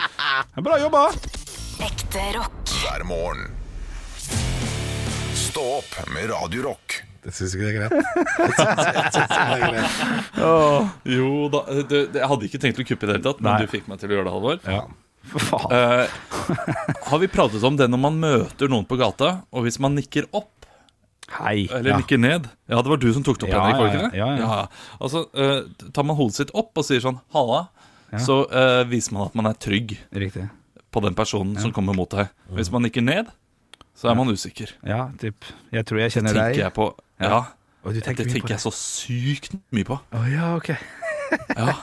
[SPEAKER 5] Men Bra jobba!
[SPEAKER 4] Eh,
[SPEAKER 2] Ekte rock.
[SPEAKER 1] hver morgen. Stå opp med Radio Rock.
[SPEAKER 4] Det syns ikke det er greit.
[SPEAKER 3] Jo da, eh, det, det, jeg hadde ikke tenkt å kuppe i det hele tatt, men
[SPEAKER 5] Nei.
[SPEAKER 3] du fikk meg til å gjøre det, Halvor.
[SPEAKER 5] For faen.
[SPEAKER 3] Eh, har vi pratet om det når man møter noen på gata, og hvis man nikker opp
[SPEAKER 5] Hei.
[SPEAKER 4] eh,
[SPEAKER 3] eller nikker ned Ja, det var du som tok det opp,
[SPEAKER 5] Ja,
[SPEAKER 3] Henrik, var det
[SPEAKER 5] ja,
[SPEAKER 3] ikke det?
[SPEAKER 5] ja, ja.
[SPEAKER 3] Altså, eh, tar man hodet sitt opp og sier sånn 'halla', så eh, viser man at man er trygg
[SPEAKER 5] Riktig.
[SPEAKER 3] på den personen som kommer mot deg. Hvis man nikker ned, så er man usikker.
[SPEAKER 5] Ja, typ. Jeg tror jeg kjenner deg.
[SPEAKER 3] Tenker jeg på Ja.
[SPEAKER 5] Og du
[SPEAKER 3] Det tenker jeg så sykt mye på.
[SPEAKER 5] Å ja, ok.
[SPEAKER 3] Ja.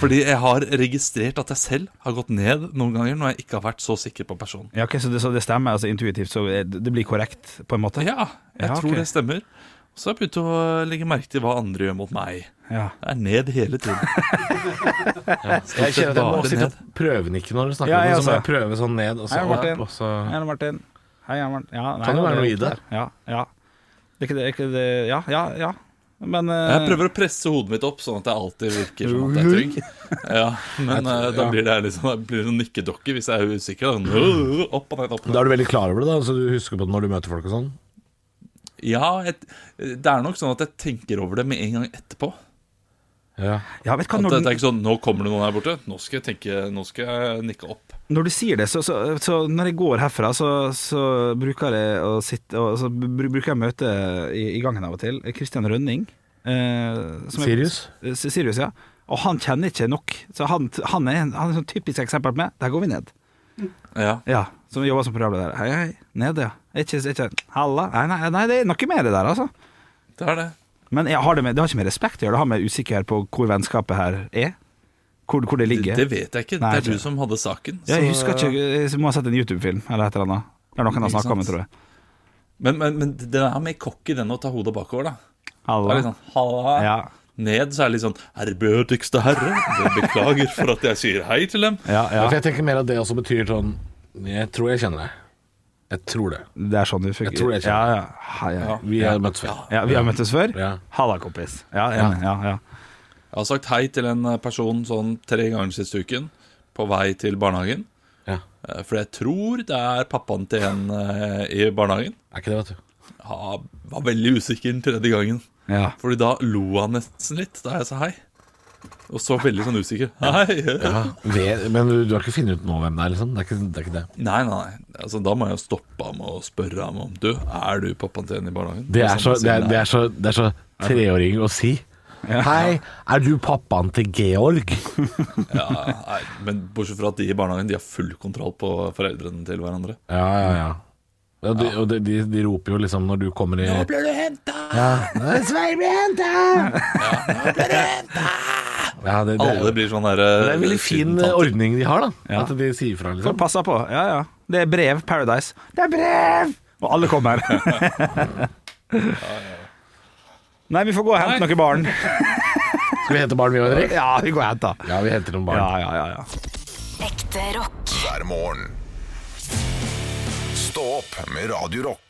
[SPEAKER 3] Fordi jeg har registrert at jeg selv har gått ned noen ganger når jeg ikke har vært så sikker på personen.
[SPEAKER 5] Ja, ok, så, det, så det stemmer altså intuitivt, så det- det blir korrekt på en måte?
[SPEAKER 3] Ja, jeg
[SPEAKER 5] Ja,
[SPEAKER 3] tror
[SPEAKER 5] ok.
[SPEAKER 3] det stemmer. Så har jeg begynt å legge merke til hva andre gjør mot meg.
[SPEAKER 5] Ja.
[SPEAKER 3] Jeg er ned hele tiden. Ja, stort
[SPEAKER 4] Jeg kjenner
[SPEAKER 3] sett
[SPEAKER 4] at jeg må
[SPEAKER 3] bare
[SPEAKER 4] sitte
[SPEAKER 3] ned.
[SPEAKER 4] og prøvenikke når du snakker
[SPEAKER 5] Ja,
[SPEAKER 4] om
[SPEAKER 5] jeg
[SPEAKER 4] det. Så må
[SPEAKER 5] også.
[SPEAKER 4] jeg prøve sånn ned, og så
[SPEAKER 5] Hei, Martin.
[SPEAKER 4] opp, og så
[SPEAKER 5] Hei, Anne Martin. Hei, Anne Martin. Ja, nei,
[SPEAKER 4] Kan det være
[SPEAKER 5] ja,
[SPEAKER 4] noe i det?
[SPEAKER 5] Ja, ja. Det er ikke det, er ikke det. Ja, ja, ja. Men eh,
[SPEAKER 3] Jeg prøver å presse hodet mitt opp, sånn at jeg alltid virker sånn at jeg er trygg. Ja, men eh, da blir det liksom da blir det en nikkedokke hvis jeg er usikker. da. Nå, Opp og ned, opp og ned.
[SPEAKER 4] Da er du veldig klar over det, da, så du husker på det når du møter folk og sånn?
[SPEAKER 3] Ja, jeg, det er nok sånn at jeg tenker over det med en gang etterpå.
[SPEAKER 4] Ja.
[SPEAKER 5] ja, vet du hva,
[SPEAKER 3] At
[SPEAKER 5] når,
[SPEAKER 3] det, det
[SPEAKER 5] du-
[SPEAKER 3] er ikke sånn, nå kommer det noen her borte Nå skal jeg tenke, nå skal jeg nikke opp
[SPEAKER 5] når du sier det, så, så, så når jeg går herfra, så, så bruker jeg å sitte og så br- bruker jeg møte i, i gangen av og til. Christian Rønning. eh, som er-
[SPEAKER 4] Sirius?
[SPEAKER 5] Eh, Sirius, ja. Og han kjenner ikke nok. Så han, han er han er sånn typisk eksempel med Der går vi ned.
[SPEAKER 3] Ja,
[SPEAKER 5] Ja, som jobber som programleder. Hei, hei, ned, ja. Ikke, ikke, halla. Nei, nei, nei, det er noe med det der, altså.
[SPEAKER 3] det er det
[SPEAKER 5] Men jeg har det, med, det har ikke med respekt å gjøre, det har med usikkerhet på hvor vennskapet her er. Hvor, hvor det ligger.
[SPEAKER 3] Det vet jeg ikke,
[SPEAKER 5] Nei,
[SPEAKER 3] det er
[SPEAKER 5] ikke.
[SPEAKER 3] du som hadde saken
[SPEAKER 5] ja, jeg
[SPEAKER 3] så-
[SPEAKER 5] husker ikke, jeg må ha sett en YouTube-film eller et eller annet. Det er noen har
[SPEAKER 3] Ikke
[SPEAKER 5] snakka om det,
[SPEAKER 3] sant?
[SPEAKER 5] tror jeg.
[SPEAKER 3] men, men, men det er mer cocky den å ta hodet bakover da Det er litt
[SPEAKER 5] Halla.
[SPEAKER 3] sånn, halla
[SPEAKER 5] Ja.
[SPEAKER 3] Ned så er det litt sånn Ærbødigste herre, jeg beklager for at jeg sier hei til dem
[SPEAKER 5] Ja,
[SPEAKER 4] Ja,
[SPEAKER 5] ja.
[SPEAKER 4] for jeg tenker mer at det også betyr sånn Jeg tror jeg kjenner deg. Jeg tror det.
[SPEAKER 5] Det er sånn det fungerer.
[SPEAKER 4] Jeg tror det
[SPEAKER 5] ja,
[SPEAKER 4] skjer.
[SPEAKER 5] ja. Hei, ja.
[SPEAKER 4] Vi har møttes før.
[SPEAKER 5] ja, vi har møttes før.
[SPEAKER 4] Ja.
[SPEAKER 5] Halla, kompis. Ja, enig. ja, ja.
[SPEAKER 3] Jeg eh, har sagt hei til en person sånn tre ganger siste uken På vei til barnehagen
[SPEAKER 4] Ja.
[SPEAKER 3] Eh, For jeg tror det er pappaen til en eh, i barnehagen.
[SPEAKER 4] Er ikke det, vet du.
[SPEAKER 3] Han var veldig usikker den tredje gangen.
[SPEAKER 5] Ja.
[SPEAKER 3] Fordi da lo han nesten litt da jeg sa hei. Og så veldig sånn usikker. Hei!
[SPEAKER 4] Ved, men du, du har ikke funnet ut nå hvem det er, liksom? Det er ikke det. Er ikke det.
[SPEAKER 3] Nei, nei, nei. Altså, da må jeg jo stoppe ham og spørre ham om Du, er du pappaen til en i barnehagen?
[SPEAKER 4] Det er
[SPEAKER 3] Hvis
[SPEAKER 4] så,
[SPEAKER 3] han
[SPEAKER 4] det er,
[SPEAKER 3] sier
[SPEAKER 4] det er så, det er så treåring å si. Hei, er du pappaen til Georg?
[SPEAKER 3] nei. Ja, nei. Men bortsett fra at de i barnehagen De har full kontroll på foreldrene til hverandre.
[SPEAKER 4] Ja, ja, ja. Ja, de, og de, de, de roper jo liksom når du kommer i
[SPEAKER 3] ble du henta!
[SPEAKER 4] Ja, Svein ble henta! Ja, det, det,
[SPEAKER 3] Alle
[SPEAKER 4] det,
[SPEAKER 3] blir sånn derre
[SPEAKER 4] er en veldig fin ordning de har, da. At de sier fra,
[SPEAKER 5] Folk
[SPEAKER 4] liksom.
[SPEAKER 5] passer på. Ja, ja. Det er brev. Paradise. Det er brev! Og alle kommer. Nei, vi får gå og hente noen barn.
[SPEAKER 4] Skal vi hente barn, vi òg, Henrik?
[SPEAKER 5] Ja, vi går og henter.
[SPEAKER 4] Ja, vi henter noen barn.
[SPEAKER 5] Ja, ja, ja, ja.
[SPEAKER 2] Ekte rock.
[SPEAKER 1] hver morgen. Stå opp med Radio Rock.